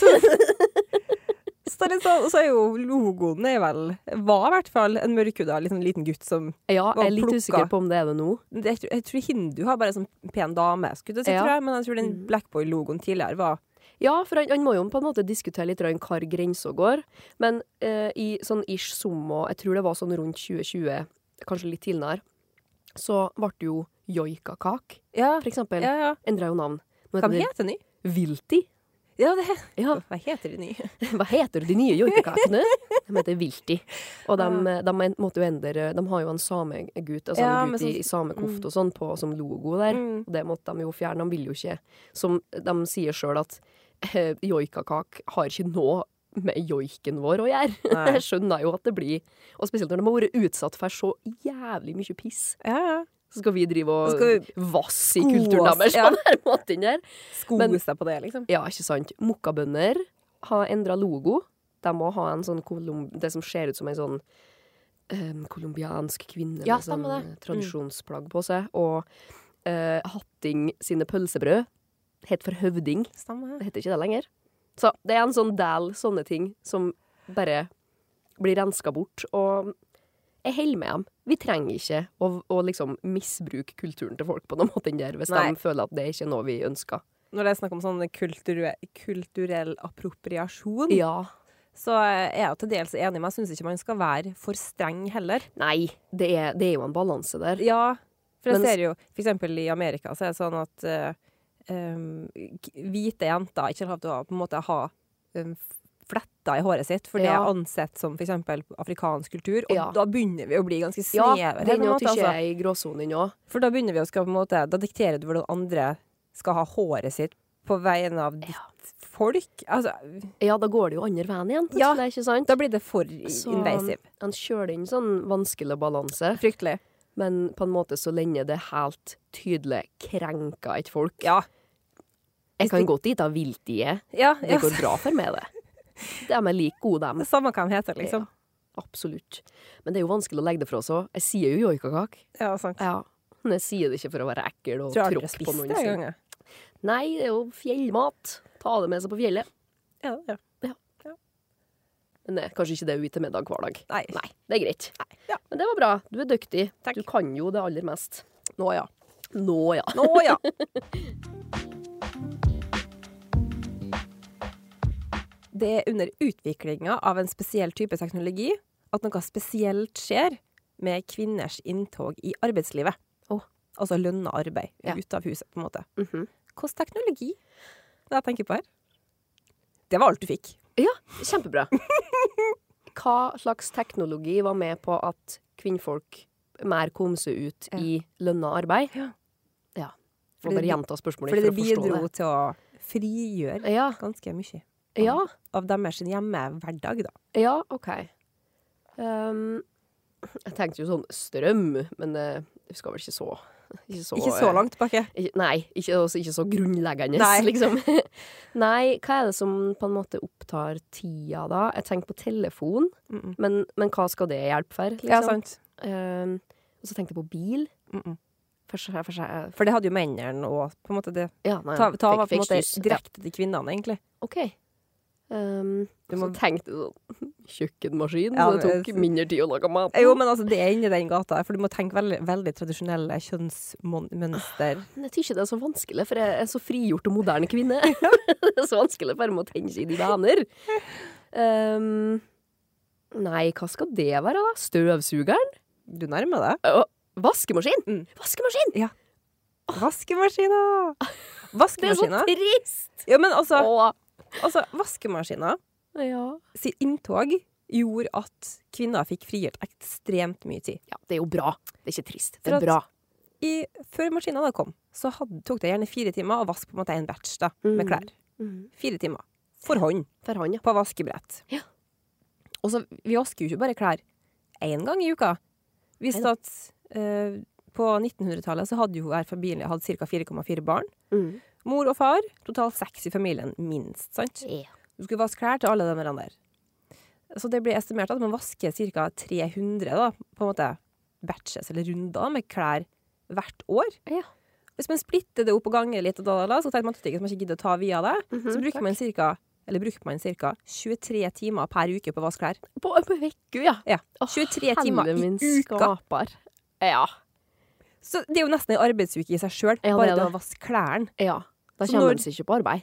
C: så, så det er litt sånn, og så er jo logoen er vel Var i hvert fall en mørkhuda liten, liten gutt som
B: Ja, jeg er litt
C: Plukka.
B: usikker på om det er det nå.
C: Jeg tror, jeg tror hindu har bare sånn pen dame, skulle jeg si,
B: Ja.
C: tror jeg, men jeg tror den
B: Mm.
C: black boy-logoen tidligere var
B: Ja, for han, han må jo på en måte diskutere litt grann hvor grensa går. Men eh, i sånn ish summa, jeg tror det var sånn rundt 2020, kanskje litt tidligere, så ble det jo joikakak,
C: Ja,
B: for eksempel.
C: ja, ja.
B: Endra jo navn. Nå
C: Hva
B: heter det
C: heter den ny?
B: Vilti.
C: Ja, det,
B: Ja, [laughs]
C: hva heter den ny?
B: hva heter de nye joikakakene? De heter Vilti. Og de, de en- måtte jo endre De har jo en samegutt, altså
C: Ja,
B: en
C: med
B: gutt i, i
C: sånn-
B: samekofte og sånn, på, som logo der.
C: Mm.
B: Og det måtte de jo fjerne. De vil jo ikke Som de sier sjøl at eh, joikakak har ikke noe med joiken vår å gjøre.
C: Nei.
B: Jeg skjønner jo at det blir Og spesielt når de har vært utsatt for så jævlig mye piss.
C: Ja, ja.
B: Så skal vi drive
C: Så skal
B: og vasse i
C: sko oss,
B: kulturen deres
C: ja.
B: på den her måten der.
C: Sko
B: Men-
C: seg på det, liksom.
B: Ja, ikke sant. Mokkabønder har endra logo. De må ha en sånn kolum... Det som ser ut som en sånn um, colombiansk kvinne
C: Ja,
B: med sånn
C: stemmer det. Mm.
B: eh, tradisjonsplagg på seg. Og eh, Hatting sine pølsebrød het for høvding.
C: Stemmer.
B: Det heter ikke det lenger. Så det er en sånn del sånne ting som bare blir renska bort. Og jeg holder med dem. Vi trenger ikke å, å liksom misbruke kulturen til folk på noen måte enn der, hvis
C: Nei.
B: de føler at det ikke er noe vi ønsker.
C: Når det er snakk om sånn kulturell, kulturell appropriasjon,
B: Ja.
C: så er jeg jo til dels enig, men jeg syns ikke man skal være for streng heller.
B: Nei, det er, det er jo en balanse der.
C: Ja, for jeg
B: Men-
C: ser jo for eksempel i Amerika så er det sånn at eh, em, k- hvite jenter ikke har lov til å på en måte ha um, fletter i håret sitt, for det er
B: Ja.
C: ansett som for eksempel afrikansk kultur, og
B: Ja.
C: da begynner vi å bli ganske
B: Ja,
C: snevre. på en
B: den
C: måte,
B: at ikke
C: altså.
B: er i gråsonen òg.
C: For da begynner vi å skal på en måte Da dikterer du hvordan andre skal ha håret sitt på vegne av ditt folk. Altså,
B: Ja, da går det jo andre veien igjen.
C: Ja.
B: Det er ikke sant?
C: da blir det for
B: Så-
C: invasiv.
B: Han kjører inn sånn vanskelig balanse,
C: Fryktelig.
B: men på en måte så lenge det helt tydelig krenker et folk.
C: Ja.
B: Jeg kan godt dit av viltige.
C: ja,
B: Det
C: ja.
B: går bra for meg, det. De er like gode, dem.
C: Samme hva de heter, liksom.
B: Absolutt. Men det er jo vanskelig å legge det fra seg. Jeg sier jo joikakak.
C: Ja, sant.
B: Ja. Men jeg sier det ikke for å være ekkel og
C: Tror jeg aldri
B: tråkke
C: har
B: på
C: spist
B: noen.
C: det en
B: sin.
C: gang. jeg.
B: Nei, det er jo fjellmat. Ta det med seg på fjellet.
C: Ja, ja.
B: Men det er kanskje ikke det hun til middag hver dag.
C: Nei.
B: Nei, det er greit.
C: Ja.
B: Men det var bra. Du er dyktig.
C: Takk.
B: Du kan jo det aller mest.
C: Nå ja.
B: Nå, ja.
C: Nå ja. [laughs] Det er under utviklinga av en spesiell type teknologi at noe spesielt skjer med kvinners inntog i arbeidslivet.
B: Åh.
C: Altså lønna arbeid
B: Ja.
C: ute av huset, på en måte.
B: Mhm.
C: Hvilken teknologi er det jeg tenker på her? Det var alt du fikk.
B: Kjempebra. [laughs] Hva slags teknologi var med på at kvinnfolk mer kom seg ut
C: Ja.
B: i lønna arbeid?
C: Ja.
B: ja. Må
C: Fordi
B: bare
C: det-
B: gjenta spørsmålet
C: Fordi
B: for
C: det
B: å forstå
C: bidro til å frigjøre
B: det. Ja.
C: ganske mye
B: ja.
C: av deres hjemmehverdag, da.
B: Ja, OK. Ehm, jeg tenkte jo sånn strøm, men eh, vi skal vel ikke så Ikke så,
C: Ikke så
B: eh,
C: langt tilbake.
B: Ikke- Nei, ikke, også ikke så grunnleggende,
C: Nei.
B: [laughs] liksom. Nei, hva er det som på en måte opptar tida, da? Jeg tenker på telefon,
C: Mm -mm.
B: men, men hva skal det hjelpe for? Liksom?
C: Ja, sant.
B: Eh, og så tenkte jeg på bil.
C: Mm -mm.
B: For, for, for,
C: For det hadde jo mennene og på en måte det
B: ja, nei,
C: Ta, ta
B: fikk-
C: var på
B: fikk
C: en måte
B: kyss.
C: direkte til kvinnene, egentlig.
B: Ja, OK. Um,
C: Du
B: så
C: må-
B: tenkte jeg sånn [laughs] Kjøkkenmaskin,
C: Ja,
B: så det tok
C: men-
B: mindre tid å lage mat.
C: Jo, men altså, det er inni den gata, for du må tenke veldig, veldig tradisjonelle kjønnsmønster.
B: Men jeg tror ikke det er så vanskelig, for jeg er så frigjort og moderne kvinne. [laughs] det er så vanskelig bare med å tenke i de vaner. Ehm, nei, hva skal det være, da? Støvsugeren?
C: Du nærmer deg.
B: Å, vaskemaskin!
C: Mm.
B: Vaskemaskin!
C: Vaskemaskiner!
B: [laughs] Det er så
C: Vaskemaskiner.
B: trist!
C: Ja, men altså,
B: Å,
C: altså vaskemaskiner
B: ja.
C: sitt inntog gjorde at kvinner fikk frigjort ekstremt mye tid.
B: ja, det er jo bra. Det er ikke trist. Det
C: For
B: er
C: at-
B: bra.
C: I, før maskinen da kom, så hadde, tok det gjerne fire timer å vaske på en måte en batch da, med
B: Mm.
C: klær. Fire timer. For hånd.
B: For han, ja.
C: på vaskebrett.
B: Ja.
C: Og så, vi vasker jo ikke bare klær én gang i uka. Visste
B: Neida.
C: at eh, på 1900-tallet så hadde jo hver familie Mm. hatt ca. 4,4 barn. Mor og far, totalt seks i familien, minst. sant?
B: Ja.
C: Du skulle vaske klær til alle de der. Så det blir estimert at man vasker ca. 300 da, på en måte batches eller runder med klær hvert år.
B: Ja.
C: Hvis man splitter det opp og ganger litt, og da, da, da, så tenker man at man ikke gidder å ta via det.
B: Mhm,
C: Så bruker man ca. Eller bruker man ca. 23 timer per uke på å vaske klær.
B: På, på vekku, ja.
C: Ja,
B: Å,
C: 23 timer
B: Helle
C: i
B: min
C: uka.
B: skaper. Ja.
C: Så det er jo nesten en arbeidsuke i seg sjøl,
B: Ja, det
C: bare
B: er
C: det å
B: det.
C: vaske klærne.
B: ja. Da
C: Så
B: kommer
C: når-
B: man seg ikke på arbeid.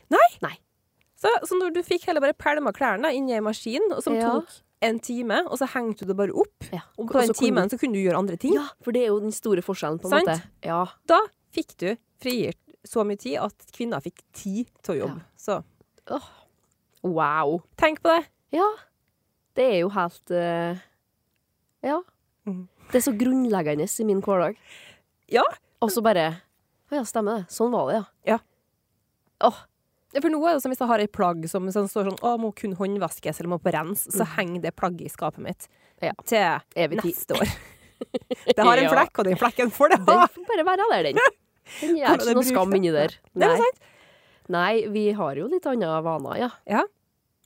C: Så, så når du fikk heller bare pælma klærne da, inni ei maskin, og som
B: Ja.
C: tok en time, og så hengte du det bare opp.
B: Ja.
C: Og på
B: så
C: den
B: kunne
C: timen så kunne du gjøre andre ting.
B: Ja, for det er jo den store forskjellen, på en
C: Sant?
B: måte. Ja.
C: Da fikk du frigitt så mye tid at kvinner fikk tid til å jobbe. Så
B: Wow.
C: tenk på det.
B: Ja. Det er jo helt eh, Ja.
C: Mhm.
B: Det er så grunnleggende i min hverdag.
C: Ja.
B: Og så bare Å ja, stemmer det. Sånn var det, ja.
C: Ja. For nå er det som hvis jeg har ei plagg som som står sånn Å, må kun håndvaskes eller må på rens, så henger det plagget i skapet mitt
B: Mm. Ja.
C: til
B: Evig tid.
C: neste
B: [laughs]
C: år. Det har en
B: Ja.
C: flekk, og den flekken får det ha!
B: Den får bare være der, den. Den gjør
C: Hvordan
B: ikke noe
C: den
B: skam
C: brukes,
B: inni der.
C: Nei, men sant?
B: Nei, vi har jo litt andre vaner, ja.
C: Ja.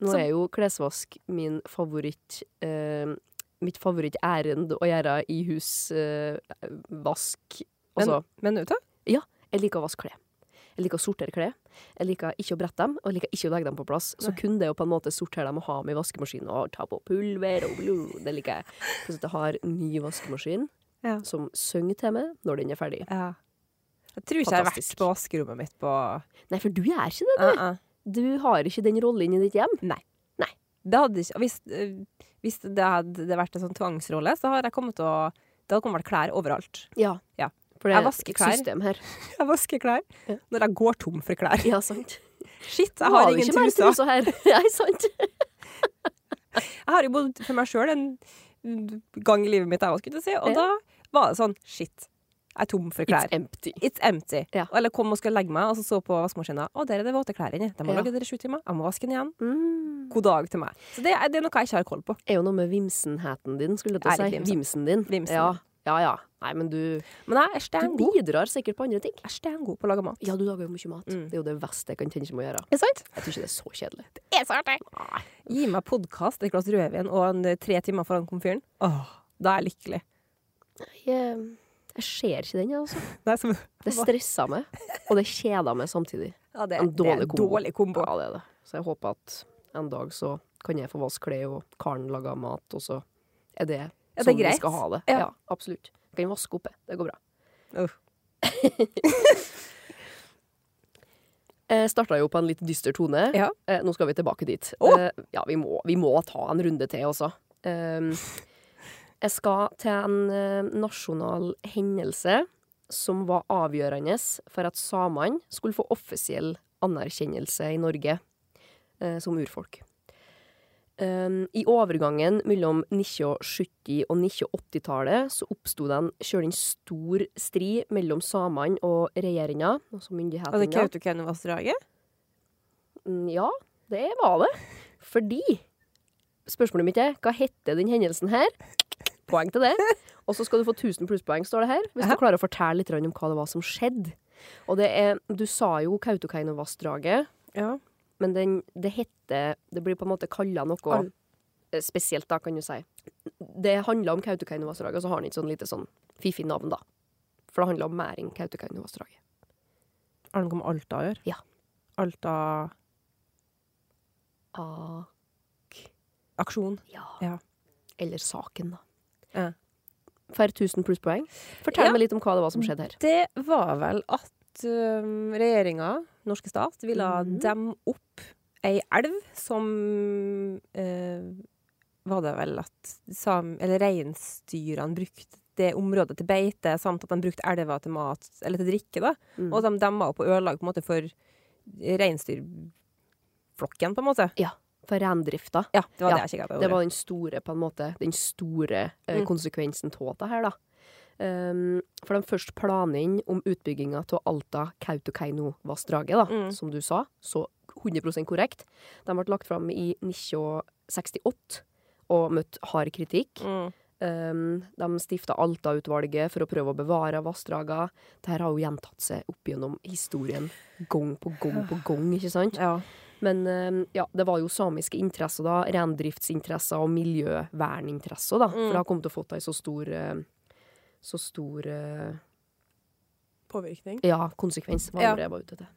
B: Nå
C: Så-
B: er jo klesvask min favoritt eh, Mitt favorittærend å gjøre i hus. Eh, vask. Altså,
C: Men vet du,
B: jeg liker å vaske klær. Jeg liker å sortere klær. Jeg liker ikke å brette dem, og jeg liker ikke å legge dem på plass. Så
C: Nei.
B: kun det å på en måte sortere dem og ha dem i vaskemaskinen og ta på pulver og blod, det liker jeg. Pluss at jeg har en ny vaskemaskin
C: Ja.
B: som synger til meg når den er ferdig.
C: ja. Jeg tror ikke jeg har vært
B: Fantastisk.
C: på vaskerommet mitt på
B: Nei, for du er ikke det.
C: Eh, eh.
B: Du har ikke den rollen i ditt hjem.
C: Det hadde ikke, hvis, eh, hvis det hadde vært en sånn tvangsrolle, så hadde jeg kommet til å Det hadde kommet til å være klær overalt.
B: Ja.
C: Ja.
B: For det
C: Jeg
B: er
C: vasker
B: et
C: klær.
B: system her. [laughs]
C: Jeg vasker klær
B: Ja.
C: når jeg går tom for klær.
B: Ja, sant.
C: Shit, jeg
B: Nå
C: har
B: du
C: ingen
B: ikke mer
C: truser.
B: truser her. [laughs] Nei, sant.
C: Jeg har jo bodd for meg sjøl en gang i livet mitt, jeg også, skulle jeg si, og
B: Ja.
C: da var det sånn Shit, jeg er tom for klær.
B: It's empty.
C: It's empty.
B: Ja.
C: Eller kom og skal legge meg, og så så på vaskemaskinen. Å, der er det våte klær inni. De må
B: Ja.
C: lage dere sju timer. Jeg må vaske den igjen.
B: Mm.
C: God dag til meg. Så det er, det er noe jeg ikke har koll på.
B: Er jo noe med vimsenheten din, skulle jeg til
C: Jeg er
B: å si.
C: litt
B: Vimsen din.
C: Vimsen.
B: Ja. ja, ja. Nei, men du,
C: Men jeg er
B: du
C: steingod.
B: bidrar sikkert på andre ting.
C: Jeg er steingod på å lage mat.
B: Ja, du lager jo mye mat.
C: Mm.
B: Det er jo det verste jeg kan tenke meg å gjøre.
C: Er det sant?
B: Jeg tror ikke det er så kjedelig.
C: Det er så artig! Gi meg podkast, et glass rødvin og en, eh, tre timer foran komfyren. Åh, da er jeg lykkelig.
B: Jeg, eh, jeg ser ikke den, jeg, altså.
C: Det er, som,
B: Det stresser meg, og det kjeder meg samtidig.
C: ja, det,
B: En
C: det er
B: dårlig kombo.
C: dårlig kombo.
B: Ja, det er det. Så jeg håper at en dag så kan jeg få vaske klær, og karen lager mat, og så er det
C: Ja, det er
B: sånn vi
C: greit.
B: skal ha det.
C: Ja.
B: Ja, absolutt. Jeg kan vaske opp, jeg. Det går bra.
C: Uff.
B: [laughs] Jeg starta jo på en litt dyster tone.
C: Ja.
B: Eh, nå skal vi tilbake dit.
C: Å!
B: Eh, ja, vi må, vi må ta en runde til, altså. Ehm, jeg skal til en eh, nasjonal hendelse som var avgjørende for at samene skulle få offisiell anerkjennelse i Norge eh, som urfolk. Ehm, I overgangen mellom 1970- og 1980-tallet så oppsto det en kjølig stor strid mellom samene og regjeringa, altså myndighetene.
C: Og det Kautokeinovassdraget?
B: Mm, Ja, det var det. Fordi Spørsmålet mitt er hva heter den hendelsen her? Poeng til det. Og så skal du få 1000 plusspoeng, står det her, hvis du
C: Aha.
B: klarer å fortelle litt grann om hva det var som skjedde. Og det er Du sa jo Kautokeinovassdraget,
C: Ja.
B: men den, det heter Det blir på en måte kalla noe
C: Al-
B: eh, spesielt, da, kan du si. Det handler om Kautokeinovassdraget, og så har den et sånn lite sånn fiffig navn, da. For det handler om mer enn Kautokeinovassdraget.
C: Har det noe med Alta å gjøre?
B: Ja.
C: Alta-aksjon?
B: Ah, ja.
C: Ja.
B: Eller saken, da.
C: Ja.
B: For 1000 plusspoeng. Fortell
C: Ja. Mm.
B: meg litt om hva det var som skjedde her.
C: Det var vel at um, regjeringa, norske stat, ville
B: Mhm.
C: demme opp ei elv som eh, Var det vel at sam, eller reinsdyrene brukte det området til beite, samt at de brukte elva til mat, eller til drikke, da.
B: Mm.
C: Og de demma opp og ødela på en måte for reinsdyrflokken, på en måte.
B: For reindrifta.
C: Ja, det var
B: Ja,
C: det jeg kikka på.
B: Det var den store, på en måte, den store eh,
C: Mm.
B: konsekvensen av det her, da. Um, for de først planene inn om utbygginga av Alta-Kautokeino-vassdraget, da,
C: Mm.
B: som du sa, så 100 korrekt. De ble lagt fram i 1968 og møtt hard kritikk.
C: Mm.
B: Um, de stifta Alta-utvalget for å prøve å bevare vassdraga. Dette har jo gjentatt seg opp gjennom historien gang på gang på gang. ikke sant?
C: Ja.
B: Men eh, ja, det var jo samiske interesser da, reindriftsinteresser og miljøverninteresser da,
C: Mm.
B: for det har kommet til å fått ei så stor, eh, så stor eh,
C: Påvirkning.
B: ja, konsekvens var
C: Ja.
B: det jeg var ute etter.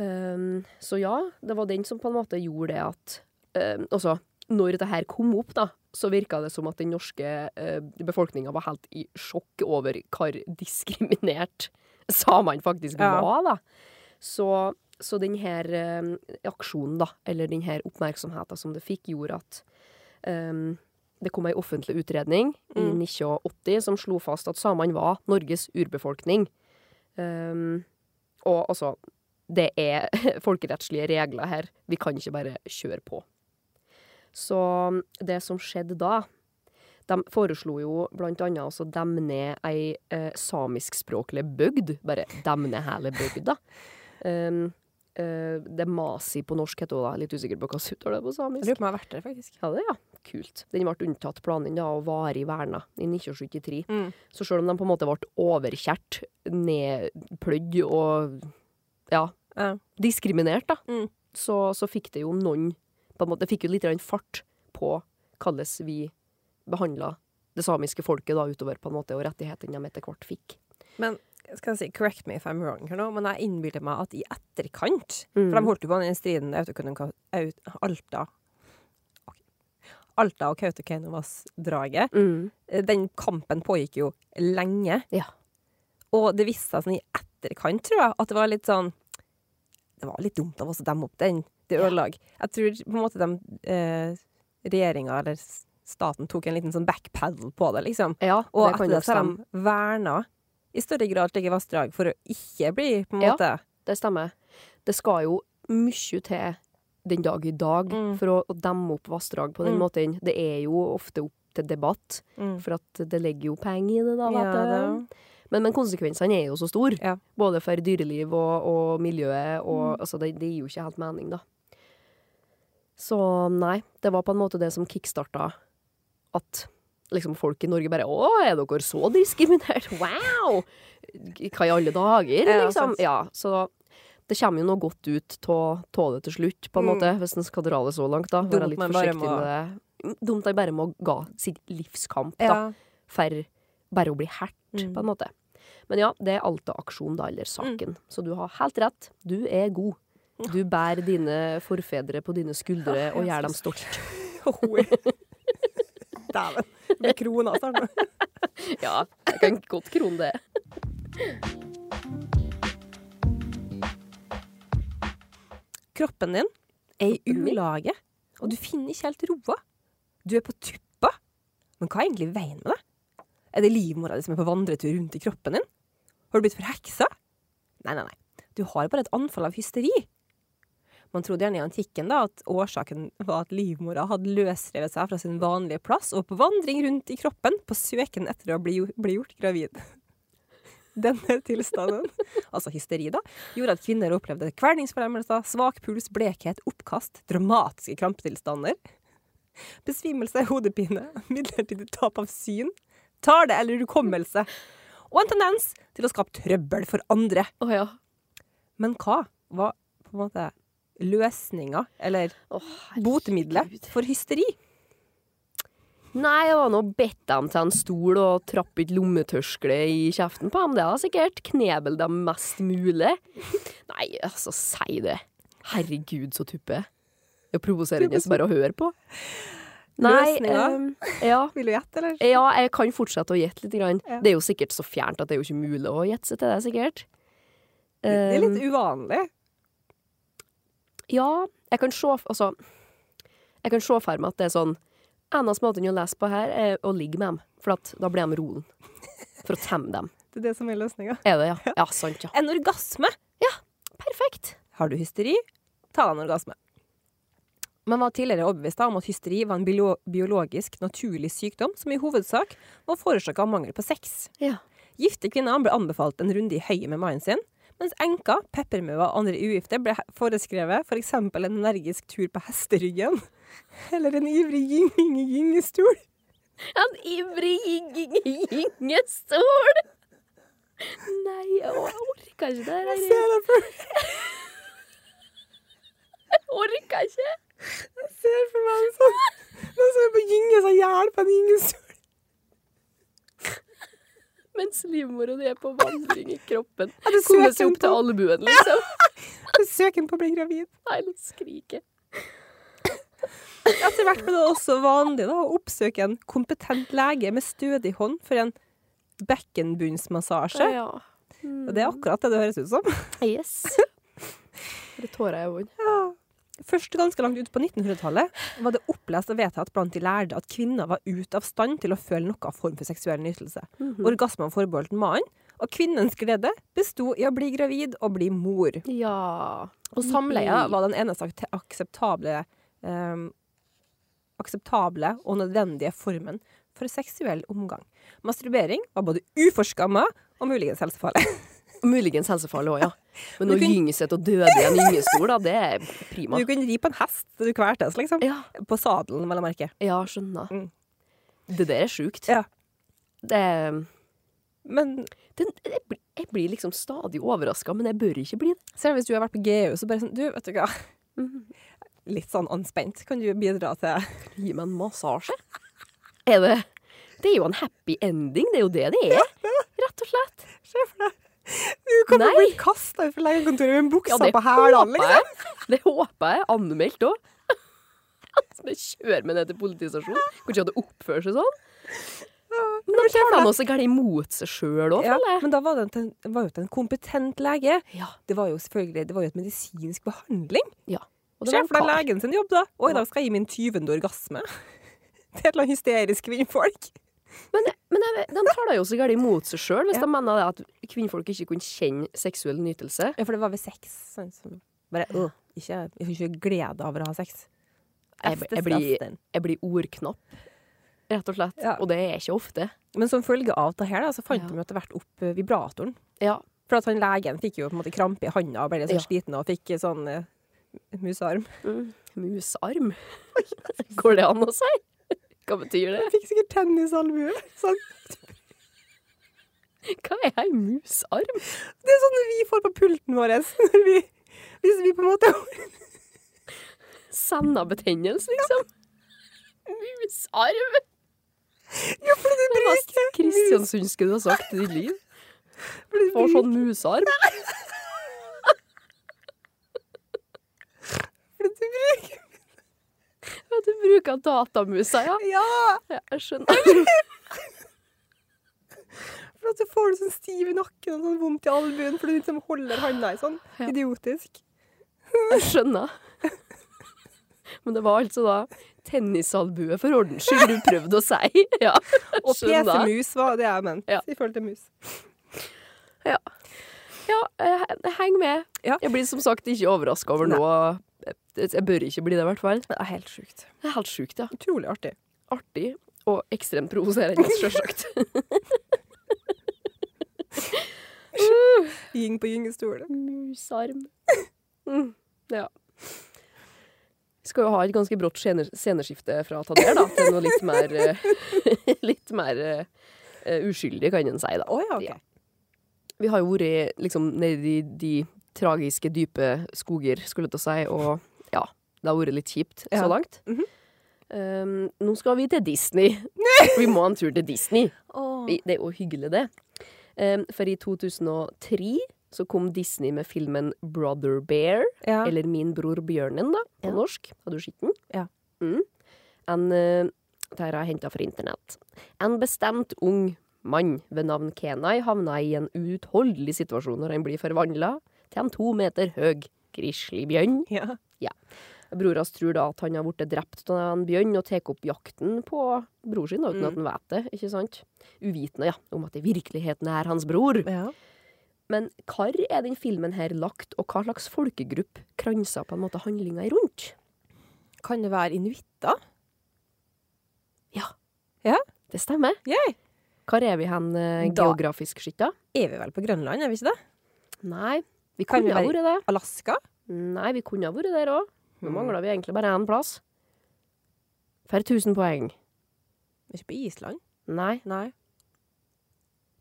B: Ehm, så ja, det var den som på en måte gjorde det at ehm, Altså, når dette her kom opp, da, så virka det som at den norske uh, befolkninga var helt i sjokk over hvor diskriminert [laughs] samene faktisk
C: Ja.
B: var, da. Så, så den her ehm, aksjonen, da, eller den her oppmerksomheten som det fikk, gjorde at ehm, det kom ei offentlig utredning i
C: Mm.
B: 1980 som slo fast at samene var Norges urbefolkning. Ehm, og altså, det er [laughs] folkerettslige regler her. Vi kan ikke bare kjøre på. Så det som skjedde da De foreslo jo blant annet også å demme ned ei eh, samiskspråklig bygd. Bare demme ned hele bygda. Ehm, eh, det masi på norsk heter det da. Litt usikker på hva som uttaler det på
C: Jeg
B: samisk.
C: lurer på om jeg har vært der, faktisk.
B: Ja, det ja. Kult. Den ble unntatt planen da, og varig verna i 1973.
C: Mm.
B: Så selv om de på en måte ble overkjært, nedpløyd og ja,
C: Ja.
B: diskriminert, da,
C: Mm.
B: så, så fikk det jo noen på en måte, Det fikk jo litt grann fart på hvordan vi behandla det samiske folket da, utover på en måte, og rettighetene de etter hvert fikk.
C: Skal jeg si, correct me if I'm wrong her nå, men jeg innbiller meg at i etterkant
B: Mm.
C: For de holdt jo på med den striden der Autokununka- Au- Alta Ok. Alta og Kautokeino-vassdraget.
B: Mm.
C: Eh, Den kampen pågikk jo lenge.
B: Ja.
C: Og det viste seg sånn i etterkant, tror jeg, at det var litt sånn Det var litt dumt av oss å demme opp den. Det ødelag. Jeg tror på en måte de eh, regjeringa eller s- staten tok en liten sånn backpedal på det, liksom.
B: Ja,
C: Og
B: det
C: etter
B: kan
C: det
B: nok
C: så har
B: stemme.
C: de verna i større grad slike vassdrag for å ikke bli på en
B: Ja.
C: måte
B: Det stemmer. Det skal jo mye til den dag i dag
C: Mm.
B: for å, å demme opp vassdrag på den
C: Mm.
B: måten. Det er jo ofte opp til debatt,
C: Mm.
B: for at det ligger jo penger i det. da.
C: Ja,
B: vet du.
C: det-
B: Men, men konsekvensene er jo så store,
C: Ja. Mm.
B: både for dyreliv og, og miljøet. Og, altså, det, det gir jo ikke helt mening, da. Så nei, det var på en måte det som kickstarta at liksom, folk i Norge bare Å, er dere så diskriminert? Wow! Hva i alle dager,
C: Ja,
B: liksom?
C: sant.
B: Ja, så det kommer jo noe godt ut av det til slutt, på en
C: Mm.
B: måte, hvis en skal dra det så langt, da.
C: Dumt
B: Være litt
C: man bare
B: forsiktig
C: må-
B: med det. Mm, Dumt at jeg bare må ga sitt livskamp, da
C: Ja.
B: for bare å bli hert,
C: Mm. [laughs]
B: på en måte. Men ja, det er Alta-aksjonen, da, eller saken. Så du har helt rett. Du er god. Du bærer dine forfedre på dine skuldre
C: Åh,
B: og
C: jeg
B: gjør dem
C: synes-
B: stolt.
C: Dæven. Det blir krona snart nå.
B: [laughs] Ja, jeg kan godt krone det.
C: Kroppen din er i
B: Kroppen min?
C: ulage, og du finner ikke helt roa. Du er på tuppa. Men hva er egentlig veien med det? Er det livmora di som er på vandretur rundt i kroppen din? Har du blitt forheksa? Nei, nei, nei. Du har bare et anfall av hysteri. Man trodde gjerne i antikken da at årsaken var at livmora hadde løsrevet seg fra sin vanlige plass og på vandring rundt i kroppen på søken etter å bli, bli gjort gravid. [laughs] Denne tilstanden, altså hysteri, da, gjorde at kvinner opplevde kvelningsforlemmelser, svak puls, blekhet, oppkast, dramatiske kramptilstander, besvimelse, hodepine, midlertidig tap av syn, tale eller hukommelse, og en tendens til å skape trøbbel for andre.
B: Å ja.
C: Men hva var på en måte løsninga, eller
B: Åh,
C: botemiddelet,
B: herregud.
C: for hysteri?
B: Nei, jeg var nå bedt dem til en stol og trappe et lommetørskle i kjeften på dem. Det har sikkert knebel dem mest mulig. Nei, altså, si det. Herregud, så tuppe. Det er provoserende bare å høre på. Nei,
C: Løsninger?
B: eh, ja.
C: Vil du gjette, eller?
B: Ja, jeg kan fortsette å gjette litt. Grann.
C: Ja.
B: Det er jo sikkert så fjernt at det er jo ikke mulig å gjette seg til det, sikkert.
C: Det er
B: Um,
C: litt uvanlig.
B: Ehm, Ja, jeg kan se f- Altså, jeg kan se for meg at det er sånn Eneste måten å lese på her, er å ligge med dem. For at da blir de roen. For å temme dem.
C: Det er det som er løsninga.
B: Er det, ja? Ja, sant, ja.
C: En orgasme
B: Perfekt.
C: Har du hysteri, ta deg en orgasme. Man var tidligere overbevist da om at hysteri var en biolo- biologisk, naturlig sykdom som i hovedsak var forårsaka av mangel på sex.
B: Ja.
C: Gifte kvinner ble anbefalt en runde i høyet med mannen sin, mens enker, peppermauer og andre ugifte ble he- foreskrevet f.eks. en energisk tur på hesteryggen [laughs] eller en ivrig gyng-gyng-gyngestol.
B: En ivrig gyngestol! Nei, å, jeg orker ikke det her.
C: Jeg ser det for-
B: Orker ikke!
C: ser for meg en
B: [laughs]
C: sånn Noen som er på å gynge seg i hjel på en gyngestol.
B: Mens livmora di er på vandring i kroppen.
C: At du
B: Komme
C: søker
B: seg opp
C: på,
B: til albuen, liksom. [laughs]
C: at du søker på å bli gravid.
B: Nei, nå skriker jeg.
C: Etter hvert ble det også vanlig da, å oppsøke en kompetent lege med stødig hånd for en bekkenbunnsmassasje.
B: Ja.
C: Og det er akkurat det det høres ut som.
B: Yes. Det tårer jeg i øynene.
C: Først ganske langt ut på 1900-tallet var det opplest og vedtatt blant de lærde at kvinner var ute av stand til å føle noen form for seksuell nytelse. Orgasmen forbeholdt mannen, og kvinnens glede besto i å bli gravid og bli mor.
B: Ja.
C: Og samleie var den eneste ak- akseptable ehm, akseptable og nødvendige formen for seksuell omgang. Masturbering var både uforskamma og muligens helsefarlig.
B: Muligens helsefarlig òg, ja. Men
C: Du
B: å
C: kunne-
B: gynge seg til å døde i en gyngestol, da, det er prima.
C: Du kunne ri på en hest til du kveltes, liksom.
B: Ja,
C: På sadelen, vel å merke.
B: ja skjønner.
C: Mm.
B: Det der er sjukt.
C: Ja.
B: Det,
C: Men
B: det, jeg, blir- jeg blir liksom stadig overraska, men jeg bør ikke bli det.
C: selv hvis du har vært på GU, så bare sånn Du, vet du hva.
B: Mhm.
C: Litt sånn anspent. Kan du bidra til
B: Gi meg en massasje. Er det Det er jo en happy ending, det er jo det det er. Rett og slett.
C: Se for deg. Du kan
B: Nei.
C: jo bli kasta ut fra legekontoret med buksa på
B: håper
C: hælene, liksom.
B: jeg. Det håper jeg. Anmeldt òg. [laughs] Det kjører meg ned til politistasjonen. Kan ikke at det oppfører seg sånn. Men da tar han også galt imot seg sjøl òg,
C: Ja,
B: føler jeg.
C: men da var det en, var jo en kompetent lege.
B: Ja.
C: Det var jo selvfølgelig Det var jo et medisinsk behandling.
B: ja. Og det
C: Sjef,
B: var
C: det er
B: en kar.
C: legen sin jobb, da. Og i dag skal jeg gi min tyvende orgasme. [laughs] Til et eller annet hysterisk kvinnfolk.
B: Men, men jeg, de tar da jo så galt imot seg sjøl hvis
C: Ja.
B: de mener det at kvinnfolk ikke kunne kjenne seksuell nytelse.
C: Ja, for det var ved sex. Sånn som bare øh, ikke, Jeg får ikke glede av å ha sex.
B: Jeg,
C: Efter
B: jeg, blir,
C: straffen.
B: jeg blir ordknapp, rett og slett.
C: Ja.
B: Og det er ikke ofte.
C: Men som følge av det her, da, så fant
B: Ja.
C: de etter hvert opp eh, vibratoren.
B: Ja.
C: For at han legen fikk jo på en måte krampe i handa og ble litt sånn sliten og fikk eh, sånn eh, musearm.
B: Mm. Musarm. [laughs] Går det an å si? Hva betyr det?
C: Fikk sikkert tennisalbue. Sånn.
B: Hva er ei musarm?
C: Det er sånn vi får på pulten vår [laughs] når vi Hvis vi på en måte [laughs]
B: Sennabetennelse, liksom. Musarm!
C: Ja, fordi du
B: Hva
C: bruker mus.
B: Kristiansund skulle du ha sagt i ditt liv.
C: Fordi du
B: Får
C: bruker-
B: sånn musarm.
C: fordi du bruker
B: Ja, du bruker datamusa, ja.
C: Ja!
B: Ja, Jeg skjønner.
C: For at du får det sånn stiv i nakken og sånn vondt i albuen fordi du liksom holder handa i sånn.
B: Ja.
C: Idiotisk.
B: Jeg skjønner. Men det var altså da tennisalbue for ordens skyld du prøvde å si. Ja,
C: Og
B: skjønner.
C: PC-mus var det jeg mente
B: Ja.
C: i forhold til mus.
B: ja eh, heng med.
C: Ja.
B: Jeg blir som sagt ikke overraska over noe. Jeg bør ikke bli det, i hvert fall.
C: Det er helt sjukt.
B: Det er helt sjukt, ja.
C: Utrolig artig.
B: artig og ekstremt
C: [laughs]
B: provoserende, sjølsagt.
C: Gyng på gyngestol.
B: Musarm. Mm, ja. Vi skal jo ha et ganske brått skjene- sceneskifte fra Tader da, til noe litt mer, eh, [laughs] litt mer eh, eh, uskyldig, kan en si. da.
C: Å ja, OK.
B: Ja. Vi har jo vært liksom, nedi de, de tragiske, dype skoger, skulle jeg til å si, og ja, det har vært litt kjipt
C: Ja.
B: så langt.
C: Mhm.
B: Um, nå skal vi til
C: [laughs]
B: Disney. Vi må ha en tur til Disney.
C: Å.
B: Vi- Det er jo hyggelig, det. Um, for i 2003 så kom Disney med filmen Brother Bear,
C: Ja.
B: eller Min bror Bjørnen, da, på
C: Ja.
B: norsk. Har du sett den?
C: Ja.
B: Mm. En, eh, det her har jeg henta fra internett. En bestemt ung mann ved navn Kenai havna i en uutholdelig situasjon når han blir forvandla til en to meter høg grizzlybjørn.
C: ja.
B: Bror hans tror da at han har blitt drept av en bjørn og tar opp jakten på bror sin da, uten
C: Mm.
B: at han vet det. ikke sant? Uvitende ja, om at det i virkeligheten er hans bror.
C: ja.
B: Men hvor er den filmen her lagt, og hva slags folkegruppe kranser på en måte handlinga rundt?
C: Kan det være inuitter?
B: Det stemmer.
C: Yay.
B: Hvor er vi hen eh,
C: Da-
B: geografisk sett, da?
C: Er vi vel på Grønland, er vi ikke det?
B: Nei, vi
C: Kan vi
B: kunne ha
C: være-
B: vært det.
C: Alaska?
B: Nei, vi kunne ha vært der òg. Nå
C: Hmm.
B: mangler vi egentlig bare én plass. For 1000 poeng.
C: Ikke på Island?
B: Nei.
C: Nei.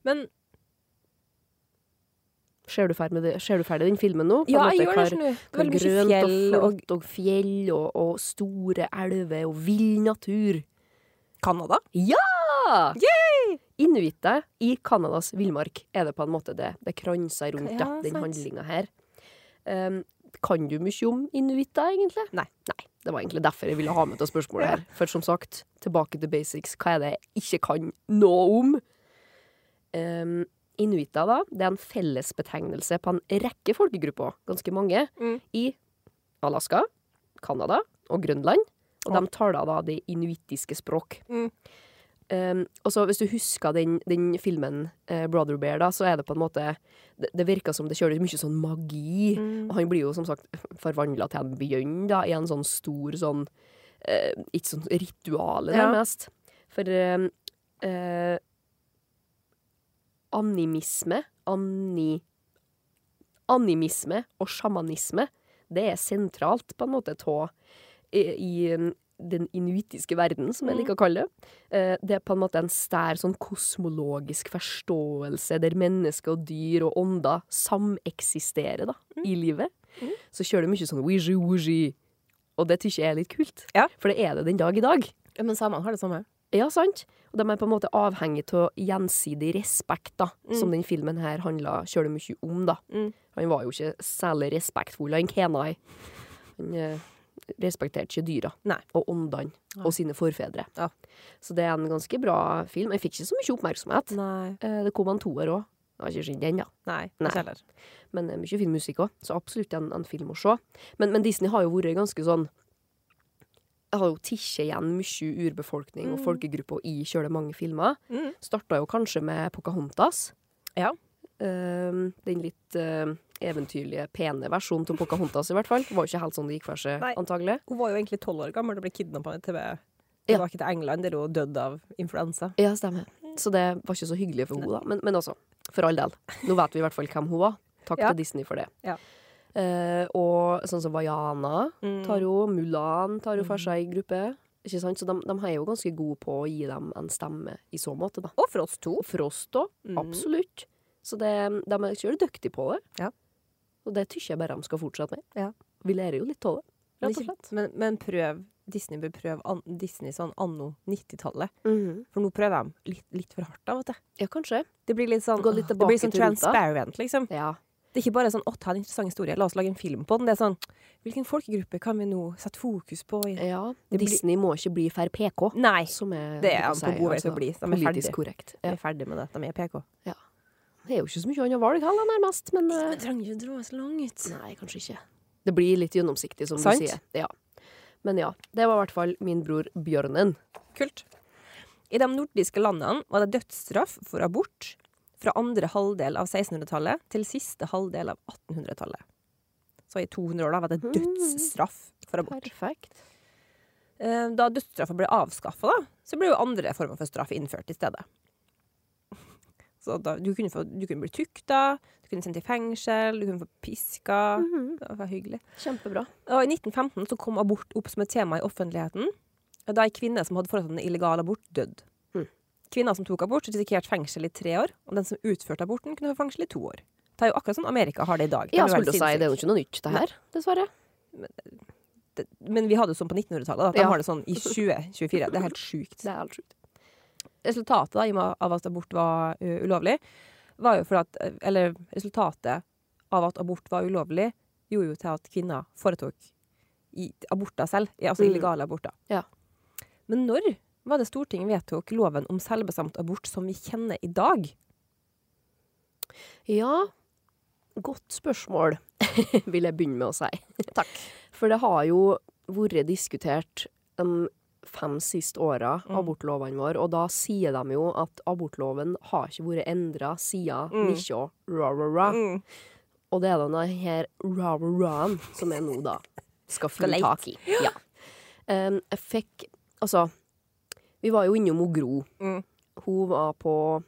C: Men
B: Ser du ferdig, med det, ser du ferdig den filmen nå? På en
C: Ja,
B: måte
C: jeg gjør det,
B: hver-
C: skjønner du.
B: Hvor
C: Veldig mye
B: grønt
C: fjell
B: og
C: og
B: flott og fjell og, og store elver og vill natur.
C: Canada.
B: Ah! Inuitter i Canadas villmark er det på en måte det. Det kranser rundt ja,
C: Ja,
B: den
C: sant.
B: handlinga her. Um, kan du mye om inuitter, egentlig?
C: Nei.
B: Det var egentlig derfor jeg ville ha med til spørsmålet
C: [laughs]
B: her. For som sagt, tilbake til basics. Hva er det jeg ikke kan noe om? Um, Inuitter da, det er en fellesbetegnelse på en rekke folkegrupper, ganske mange,
C: Mm.
B: i Alaska, Kanada og Grønland. Og
C: Ja.
B: de taler da det inuittiske språk.
C: Mm.
B: Um, og så Hvis du husker den, den filmen eh, Brother Bear, da, så er det på en måte Det, det virker som det kjører mye sånn magi.
C: Mm.
B: Og han blir jo som sagt forvandla til en bjørn da, i en sånn stor sånn eh, Ikke sånn ritual,
C: Ja.
B: nærmest. For eh, eh, animisme ani, Animisme og sjamanisme, det er sentralt på en måte tå i, i mm, den inuittiske verden, som jeg
C: Mm.
B: liker å kalle det. Eh, Det er på en måte en stær sånn kosmologisk forståelse der mennesker og dyr og ånder sameksisterer da, i livet.
C: Mm.
B: Så kjører de mye sånn wiji wiji, og det tykker jeg er litt kult.
C: Ja.
B: For det er det den dag i dag.
C: Ja, men samene har det samme.
B: Ja, sant? Og de er på en måte avhengig av gjensidig respekt, da,
C: Mm.
B: som den filmen her handla kjølig mye om. da.
C: Mm.
B: Han var jo ikke særlig respektfull, han Kenai. Han eh, respekterte ikke dyra
C: Nei.
B: og åndene
C: Nei.
B: og sine forfedre.
C: Ja.
B: Så det er en ganske bra film. Jeg fikk ikke så mye oppmerksomhet.
C: Nei.
B: Eh, det kom en toer òg. Jeg har ikke sett den, da.
C: Nei,
B: Nei.
C: ikke heller.
B: Men det er mye fin musikk òg, så absolutt en, en film å se. Men, men Disney har jo vært ganske sånn Jeg har jo tisket igjen mye urbefolkning og
C: Mm.
B: folkegrupper i kjøle mange filmer.
C: Mm.
B: Starta jo kanskje med Pocahontas.
C: Ja.
B: Ehm, den litt eh, eventyrlige, pene versjonen til Pocahontas, i hvert fall. Det var jo ikke helt sånn det gikk for seg,
C: Nei.
B: antagelig.
C: Hun var jo egentlig tolv år gammel og ble kidnappa tilbake
B: Ja.
C: tilbake til England, der hun døde av influensa.
B: Ja, stemmer. Så det var ikke så hyggelig for henne, da. Men, men altså, for all del. Nå vet vi i hvert fall hvem hun var. Takk
C: Ja.
B: til Disney for det.
C: Ja.
B: Eh, og sånn som Vaiana
C: Mm.
B: tar jo Mulan tar jo for seg i gruppe. Ikke sant? Så de, de er jo ganske gode på å gi dem en stemme i så måte, da.
C: Og for oss to.
B: Og Frost òg.
C: Mm.
B: Absolutt. Så det, de er kjølig dyktige på det.
C: Ja.
B: Og det syns jeg bare de skal fortsette med.
C: Ja.
B: Vi lærer jo litt av det, rett og slett.
C: Men, men prøv Disney bør prøve an, Disney sånn anno 90-tallet. For nå prøver de litt, litt for hardt av og til.
B: Ja, kanskje.
C: Det blir litt sånn,
B: Gå litt
C: det blir
B: tilbake
C: sånn
B: til ruta.
C: transparent, liksom.
B: Ja.
C: Det er ikke bare sånn 'Å, det er en interessant historie, la oss lage en film på den'. Det er sånn Hvilken folkegruppe kan vi nå sette fokus på? I?
B: ja.
C: Det blir-
B: Disney må ikke bli for PK.
C: Nei!
B: Som er,
C: Det er
B: jeg
C: han på
B: sier,
C: god vei til å
B: altså,
C: bli. De er
B: Politisk
C: ferdig.
B: korrekt.
C: Vi
B: Ja.
C: er ferdig med E det. De er PK.
B: Det er jo ikke så mye annet valg heller, nærmest. Men eh,
C: trenger ikke å dra så langt.
B: nei, kanskje ikke. Det blir litt gjennomsiktig, som
C: Sant.
B: du sier. Ja. Men ja. Det var i hvert fall min bror Bjørnen.
C: Kult. I de nordiske landene var det dødsstraff for abort fra andre halvdel av 1600-tallet til siste halvdel av 1800-tallet. Så i 200 år da var det dødsstraff for abort.
B: Perfekt.
C: Eh, Da dødsstraffa ble avskaffa, så ble jo andre former for straff innført i stedet. Så da, du, kunne få, du kunne bli tukta, du kunne sendt i fengsel, du kunne få piska. Det var hyggelig.
B: Kjempebra.
C: Og I 1915 så kom abort opp som et tema i offentligheten. Og Da ei kvinne som hadde foretatt en illegal abort, døde.
B: Mm.
C: Kvinna som tok abort, risikerte fengsel i tre år. Og den som utførte aborten, kunne få fengsel i to år. Det er jo akkurat sånn Amerika har det i dag. Det
B: Ja,
C: er jo
B: skulle
C: helt
B: si, det er jo
C: sinnssykt.
B: ikke noe nytt, det her. Dessverre.
C: Det- Men vi hadde det sånn på 1900-tallet. da. De
B: Ja.
C: har det sånn i 2024. Det er helt sjukt.
B: Det er helt sjukt.
C: Resultatet da, i og med av at abort var ø, ulovlig, var jo for at eh, Eller resultatet av at abort var ulovlig, gjorde jo til at kvinner foretok i, aborter selv. i- Altså
B: Mm.
C: illegale aborter.
B: Ja.
C: Men når var det Stortinget vedtok loven om selvbestemt abort som vi kjenner i dag?
B: Ja, godt spørsmål, [laughs] vil jeg begynne med å si.
C: Takk.
B: [laughs] For det har jo vært diskutert de fem siste åra,
C: Mm.
B: abortlovene våre, og da sier de jo at abortloven har ikke vært endra siden
C: Mm.
B: 1900. Og det er denne her ra-ra-raen som jeg nå da skal få
C: Skal lete.
B: tak i. Ja. Em, jeg fikk Altså, vi var jo innom hun Gro.
C: Mm.
B: Hun var på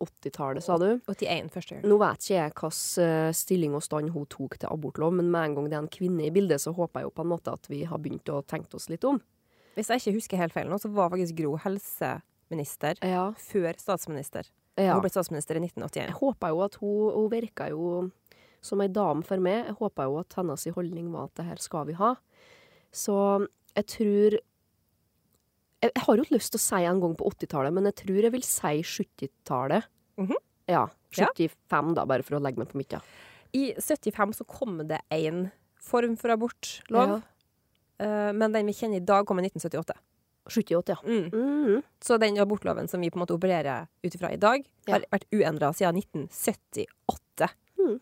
B: 80-tallet, sa du.
C: 81 første gang.
B: Nå vet ikke jeg hvilken stilling og stand hun tok til abortlov, men med en gang det er en kvinne i bildet, så håper jeg jo på en måte at vi har begynt å tenke oss litt om.
C: Hvis jeg ikke husker helt feil nå, så var faktisk Gro helseminister
B: Ja,
C: før statsminister.
B: ja.
C: Hun ble statsminister i 1981.
B: Jeg håper jo at hun, hun virka jo som ei dame for meg. Jeg håpa jo at hennes holdning var at det her skal vi ha. Så jeg tror Jeg, jeg har jo ikke lyst til å si en gang på 80-tallet, men jeg tror jeg vil si 70-tallet.
C: Mhm.
B: Ja.
C: Ja.
B: 75, da, bare for å legge meg på midten.
C: I 75 så kom det en form for abortlov, eh, men den vi kjenner i dag, kom i 1978.
B: 78, ja.
C: Mm.
B: Mhm.
C: Så den abortloven som vi på en måte opererer ut ifra i dag,
B: Ja.
C: har vært uendra siden 1978.
B: Mm.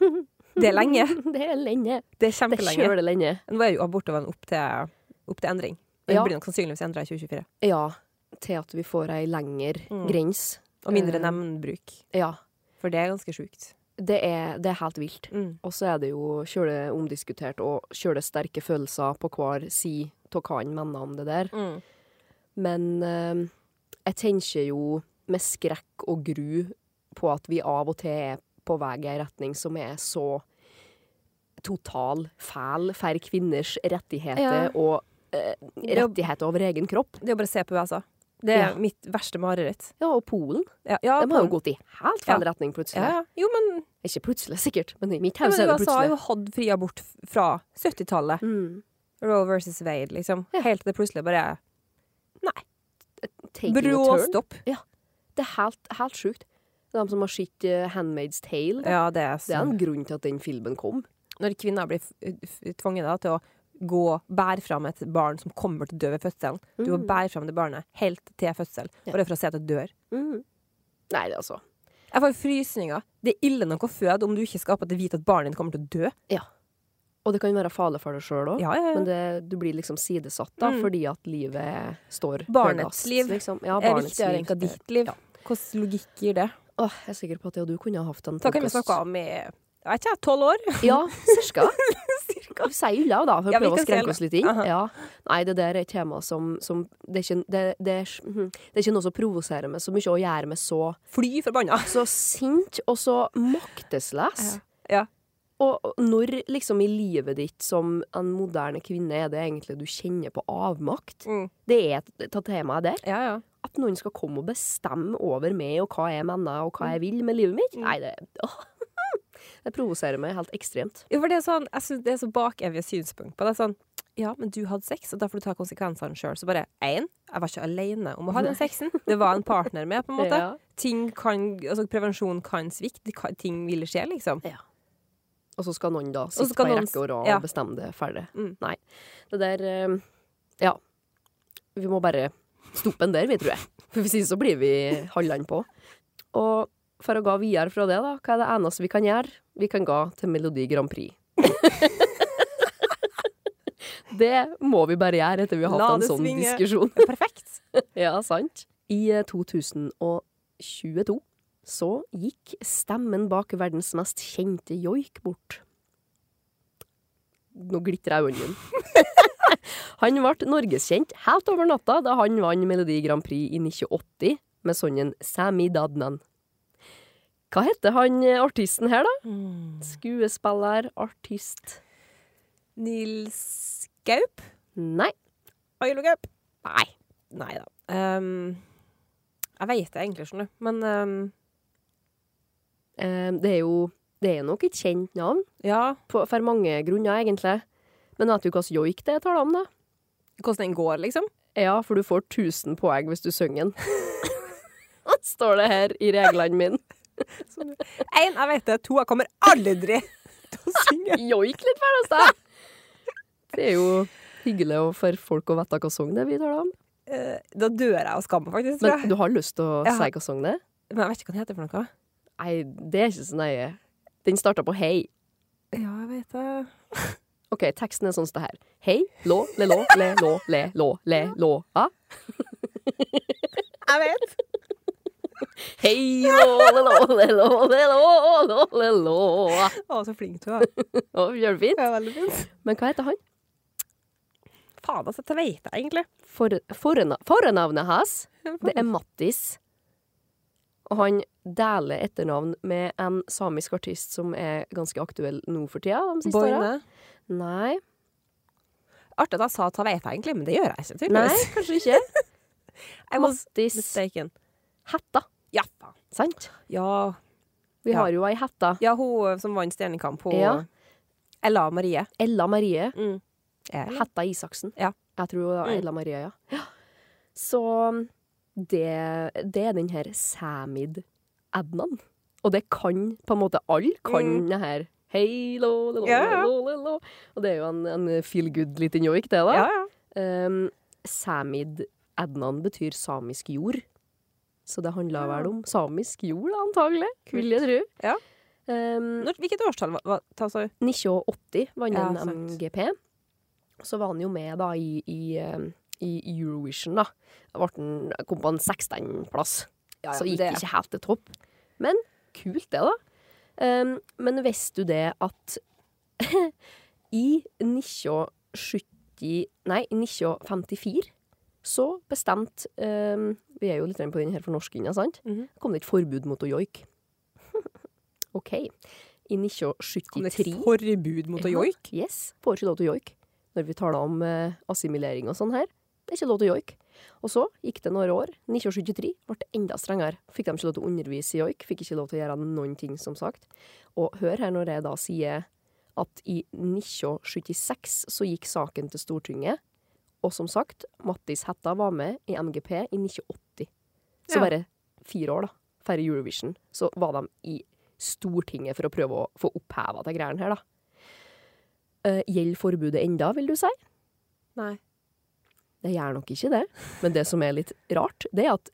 C: [laughs] Det er lenge.
B: [laughs] Det er lenge. Det
C: Det er
B: er
C: kjempelenge.
B: kjølig lenge.
C: Nå er jo abortloven opp til, opp til endring. Den
B: Ja.
C: blir nok sannsynligvis endra i 2024.
B: Ja. Til at vi får ei lengre
C: Mm.
B: grense.
C: Og mindre
B: Eh.
C: nemndbruk.
B: Ja.
C: For det er ganske sjukt.
B: Det er, det er helt vilt.
C: Mm.
B: Og så er det jo kjøle omdiskutert og kjøle sterke følelser på hver si av hva han mener om det der.
C: Mm.
B: Men eh, jeg tenker jo med skrekk og gru på at vi av og til er på vei i en retning som er så total fæl for kvinners rettigheter
C: Ja.
B: og eh, rettigheter over egen kropp.
C: Det er jo bare å se på USA. Det er
B: Ja.
C: mitt verste mareritt.
B: Ja, og Polen.
C: Ja, ja,
B: De har jo
C: på-
B: gått i helt feil retning
C: ja,
B: plutselig.
C: ja. Jo, men,
B: Ikke plutselig, sikkert, men i mitt
C: ja,
B: hode
C: men
B: er det
C: USA har
B: plutselig.
C: jo hatt fri abort f- fra 70-tallet.
B: Mm.
C: Roe versus Wade, liksom.
B: Ja.
C: Helt til det plutselig bare
B: Taking a
C: Brå
B: turn.
C: stopp.
B: Det er helt, helt sjukt. De som har sett eh, 'Handmaid's Tale',
C: Ja, det er
B: det er
C: sånn.
B: en grunn til at den filmen kom.
C: Når kvinner blir f- f- tvunget da, til å gå, bære fram et barn som kommer til å dø ved fødselen. Du må
B: Mm.
C: bære fram det barnet helt til fødsel,
B: Ja.
C: bare for å se at det dør.
B: Mm. Nei, det altså.
C: Jeg får frysninger. Det er ille nok å føde om du ikke skal opp at du vet at barnet ditt kommer til å dø.
B: Og det kan være farlig for deg sjøl òg.
C: Ja, ja,
B: Men
C: ja.
B: det, du blir liksom sidesatt da,
C: Mm.
B: fordi at livet står
C: Barnets
B: høyest,
C: liv
B: Liksom. Ja,
C: Det er
B: barnets
C: viktigere enn
B: liv.
C: hva ditt liv.
B: Ja.
C: Hvordan logikk gir det?
B: Åh, jeg er sikker på at jeg og du kunne ha hatt en
C: Da kan vi
B: podcast.
C: snakke om i jeg vet ikke, tolv år. [laughs]
B: Ja, cirka. Vi sier jo det, da, for
C: Ja,
B: å
C: vi
B: prøve å
C: kan si det.
B: skrenke oss litt inn.
C: Aha.
B: Ja. Nei, det der er et tema som, som det, er ikke, det, det, er, mhm. det er ikke noe som provoserer meg så mye, og gjør meg så
C: Fly forbanna.
B: så sint og så maktesløs.
C: Ja.
B: Og og når liksom i livet ditt som en moderne kvinne er det egentlig du kjenner på avmakt?
C: Mm.
B: Det er et- ta temaet der.
C: Ja, ja.
B: At noen skal komme og bestemme over meg og hva jeg mener og hva jeg vil med livet mitt.
C: Mm.
B: Nei, det åh. [laughs] Det provoserer meg helt ekstremt.
C: Ja, for det er sånn, jeg synes det er så bakevige synspunkt på det. Sånn, ja, men du hadde sex, og da får du ta konsekvensene sjøl. Så bare én, jeg var ikke alene om å ha den sexen. Det var en partner med, på en [laughs] måte.
B: Ja.
C: Ting kan, altså Prevensjon kan svikte. Det kan- Ting vil skje, liksom.
B: Og så skal noen da
C: så
B: sitte på
C: skal
B: ei
C: noen s-
B: rekke og rad
C: ja.
B: og bestemme det ferdig.
C: Mm.
B: Nei. Det der eh, Ja. Vi må bare stoppe den der, vi, tror jeg. For hvis ikke så blir vi halvland på. Og for å gå videre fra det, da, hva er det eneste vi kan gjøre? Vi kan gå til Melodi Grand
C: [laughs]
B: Prix. det må vi bare gjøre etter vi har hatt
C: La
B: en
C: det
B: sånn
C: svinge.
B: diskusjon.
C: Perfekt.
B: Ja, sant. I eh, 2022 så gikk stemmen bak verdens mest kjente joik bort. Nå glitrer jeg i øynene. [laughs] han ble norgeskjent helt over natta da han vant Melodi Grand Prix i 1980 med sangen Sami Dadnan. Hva heter han eh, artisten her, da?
C: Mm.
B: Skuespiller, artist
C: Nils Gaup.
B: Nei.
C: Ailo Gaup.
B: Nei.
C: Nei da. Um, jeg veit det egentlig, skjønner du. Men um,
B: Eh, Det er jo Det er nok et kjent navn.
C: ja,
B: på, for mange grunner, egentlig. Men vet du hva slags joik det er tale om, da?
C: hvordan den går, liksom.
B: Ja, for du får 1000 poeng hvis du synger den. [laughs] Står det her i reglene mine.
C: Én, jeg vet det. To, jeg kommer aldri [laughs] til å synge.
B: Joik litt for oss, da! Det er jo hyggelig å- for folk å vite hva sang det er vi taler om.
C: Eh, da dør jeg av skam, faktisk. Tror jeg.
B: Men du har lyst til å
C: Ja.
B: si hva sang det er?
C: Men jeg vet ikke hva den heter for noe.
B: Nei, det er ikke så nøye. Den starta på hei.
C: Ja, jeg vet det.
B: OK, teksten er sånn som det her. Hei, lå, le, lå, le, lå, le, lå, le, lå, a.
C: Jeg vet.
B: Hei, lå, le, lå, le, lå, le, lå, lå, le, lå, a.
C: Å, så flink du [laughs] er.
B: Å, Gjør det fint?
C: Det er veldig fint.
B: Men hva heter han?
C: Faen, altså. Det vet jeg egentlig.
B: For, forna, fornavnet hans, det er Mattis. Og han deler etternavn med en samisk artist som er ganske aktuell nå for tida. De siste åra.
C: Boine.
B: Nei.
C: Artig at jeg sa ta veit jeg egentlig, men det gjør jeg ikke.
B: Nei,
C: tydeligvis.
B: kanskje ikke.
C: I was
B: Mattis
C: [laughs] mistaken.
B: Hætta,
C: Ja, faen.
B: sant?
C: Ja.
B: Vi
C: Ja.
B: har jo ei hette.
C: Ja, hun eh, som vant Stjernekamp, hun eh,
B: Ja.
C: Ella Marie.
B: Ella Marie.
C: Mm. Ella.
B: Hetta Isaksen.
C: Ja.
B: Jeg tror det var
C: Mm.
B: Ella Marie, ja. ja. Så um, det, det er den her Samid Adnan. Og det kan på en måte alle kan
C: Mm.
B: det her. Hei, lo, lo, lo,
C: Ja, ja.
B: lo, lo, lo. Og det er jo en, en feel good liten joik, det, da.
C: Ja, ja.
B: Um, Samid Adnan betyr samisk jord. Så det handla
C: Ja.
B: vel om samisk jord, da, antagelig.
C: Kult.
B: Vil jeg tro.
C: Ja.
B: Um,
C: Når, hvilket årstall var- var ta, sa du?
B: 1980 vant
C: Ja,
B: han
C: sant.
B: MGP. Så var han jo med da i, i, eh, i Eurovision, da. Da ble han- kom på en 16.-plass, så gikk det
C: det
B: ikke helt til topp. Men kult, det, da. Um, men visste du det at [laughs] i 1970 Nei, i 1954 så bestemte um, Vi er jo litt på den her fornorskinga, sant?
C: Mhm.
B: Kom det ikke forbud mot å joike? [laughs] OK. I
C: Kom det
B: 1973
C: et forbud mot å
B: Ja.
C: joike?
B: Yes. Får ikke lov til å joike. Når vi taler om eh, assimilering og sånn her. Det er ikke lov til å joike. Og så gikk det noen år. 1973 ble det enda strengere. Fikk de ikke lov til å undervise i joik. Fikk ikke lov til å gjøre noen ting, som sagt. Og hør her når jeg da sier at i 1976 så gikk saken til Stortinget. Og som sagt, Mattis Hætta var med i MGP i 1980. Så
C: Ja.
B: bare fire år, da. Færre Eurovision. Så var de i Stortinget for å prøve å få oppheva de greiene her, da. Eh, gjelder forbudet enda, vil du si?
C: Nei.
B: Det gjør nok ikke det. Men det som er litt rart, det er at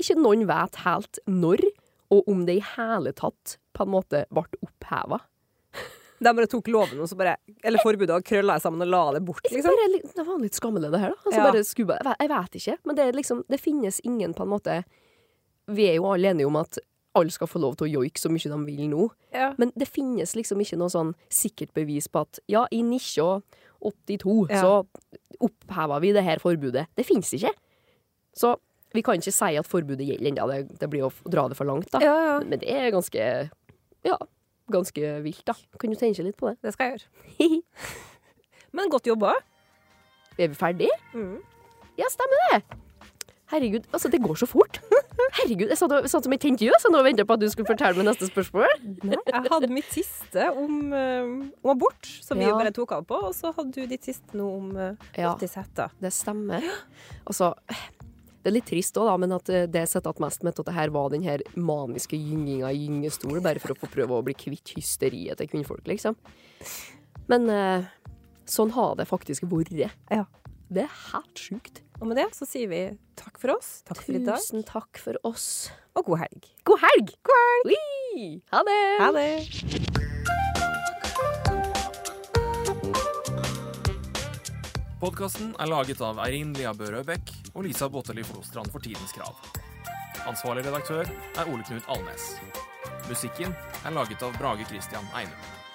B: ikke noen vet helt når, og om det i hele tatt på en måte ble oppheva.
C: De bare tok loven og så bare Eller forbudet og krølla det sammen og la det bort, liksom.
B: Bare, litt- det var litt skammelig, det her. da. Altså,
C: Ja.
B: bare skubba, jeg, vet- jeg vet ikke. Men det, er liksom, det finnes ingen på en måte Vi er jo alle enige om at alle skal få lov til å joike så mye de vil nå.
C: Ja.
B: Men det finnes liksom ikke noe sånn sikkert bevis på at ja, i 1982
C: Ja.
B: så oppheva vi det her forbudet. Det finnes ikke. Så vi kan ikke si at forbudet gjelder ennå. Det, det blir å f- dra det for langt, da.
C: Ja, ja.
B: Men det er ganske ja, ganske vilt, da. Kan du tenke litt på det?
C: Det skal jeg gjøre.
B: [laughs]
C: Men godt jobba.
B: Er vi ferdige?
C: Mm.
B: Ja, stemmer det. Herregud, altså det går så fort. [laughs] Herregud, Jeg satt, og- satt som et tentegjøs og nå venta på at du skulle fortelle meg neste spørsmål.
C: Jeg hadde mitt siste om, eh, om abort, som vi
B: Ja.
C: jo bare tok av på. Og så hadde du ditt siste nå om uh,
B: Ja.
C: Mattis Hætta.
B: Det stemmer. Altså, det er litt trist òg, da, men at eh, det jeg setter igjen mest med, at det her var den her maniske gynginga i gyngestol, bare for å få prøve å bli kvitt hysteriet til kvinnfolk, liksom. Men eh, sånn har det faktisk vært.
C: Ja.
B: Det er helt sjukt.
C: Og med det så sier vi takk for oss. Takk for i dag.
B: Tusen takk for oss.
C: Og god helg.
B: God helg! God helg! Ha det!
C: Ha det.
A: Podkasten er laget av Eirin Lia Bø Røbekk og Lisa Botteli Flostrand for Tidens Krav. Ansvarlig redaktør er Ole Knut Alnes. Musikken er laget av Brage Christian Eine.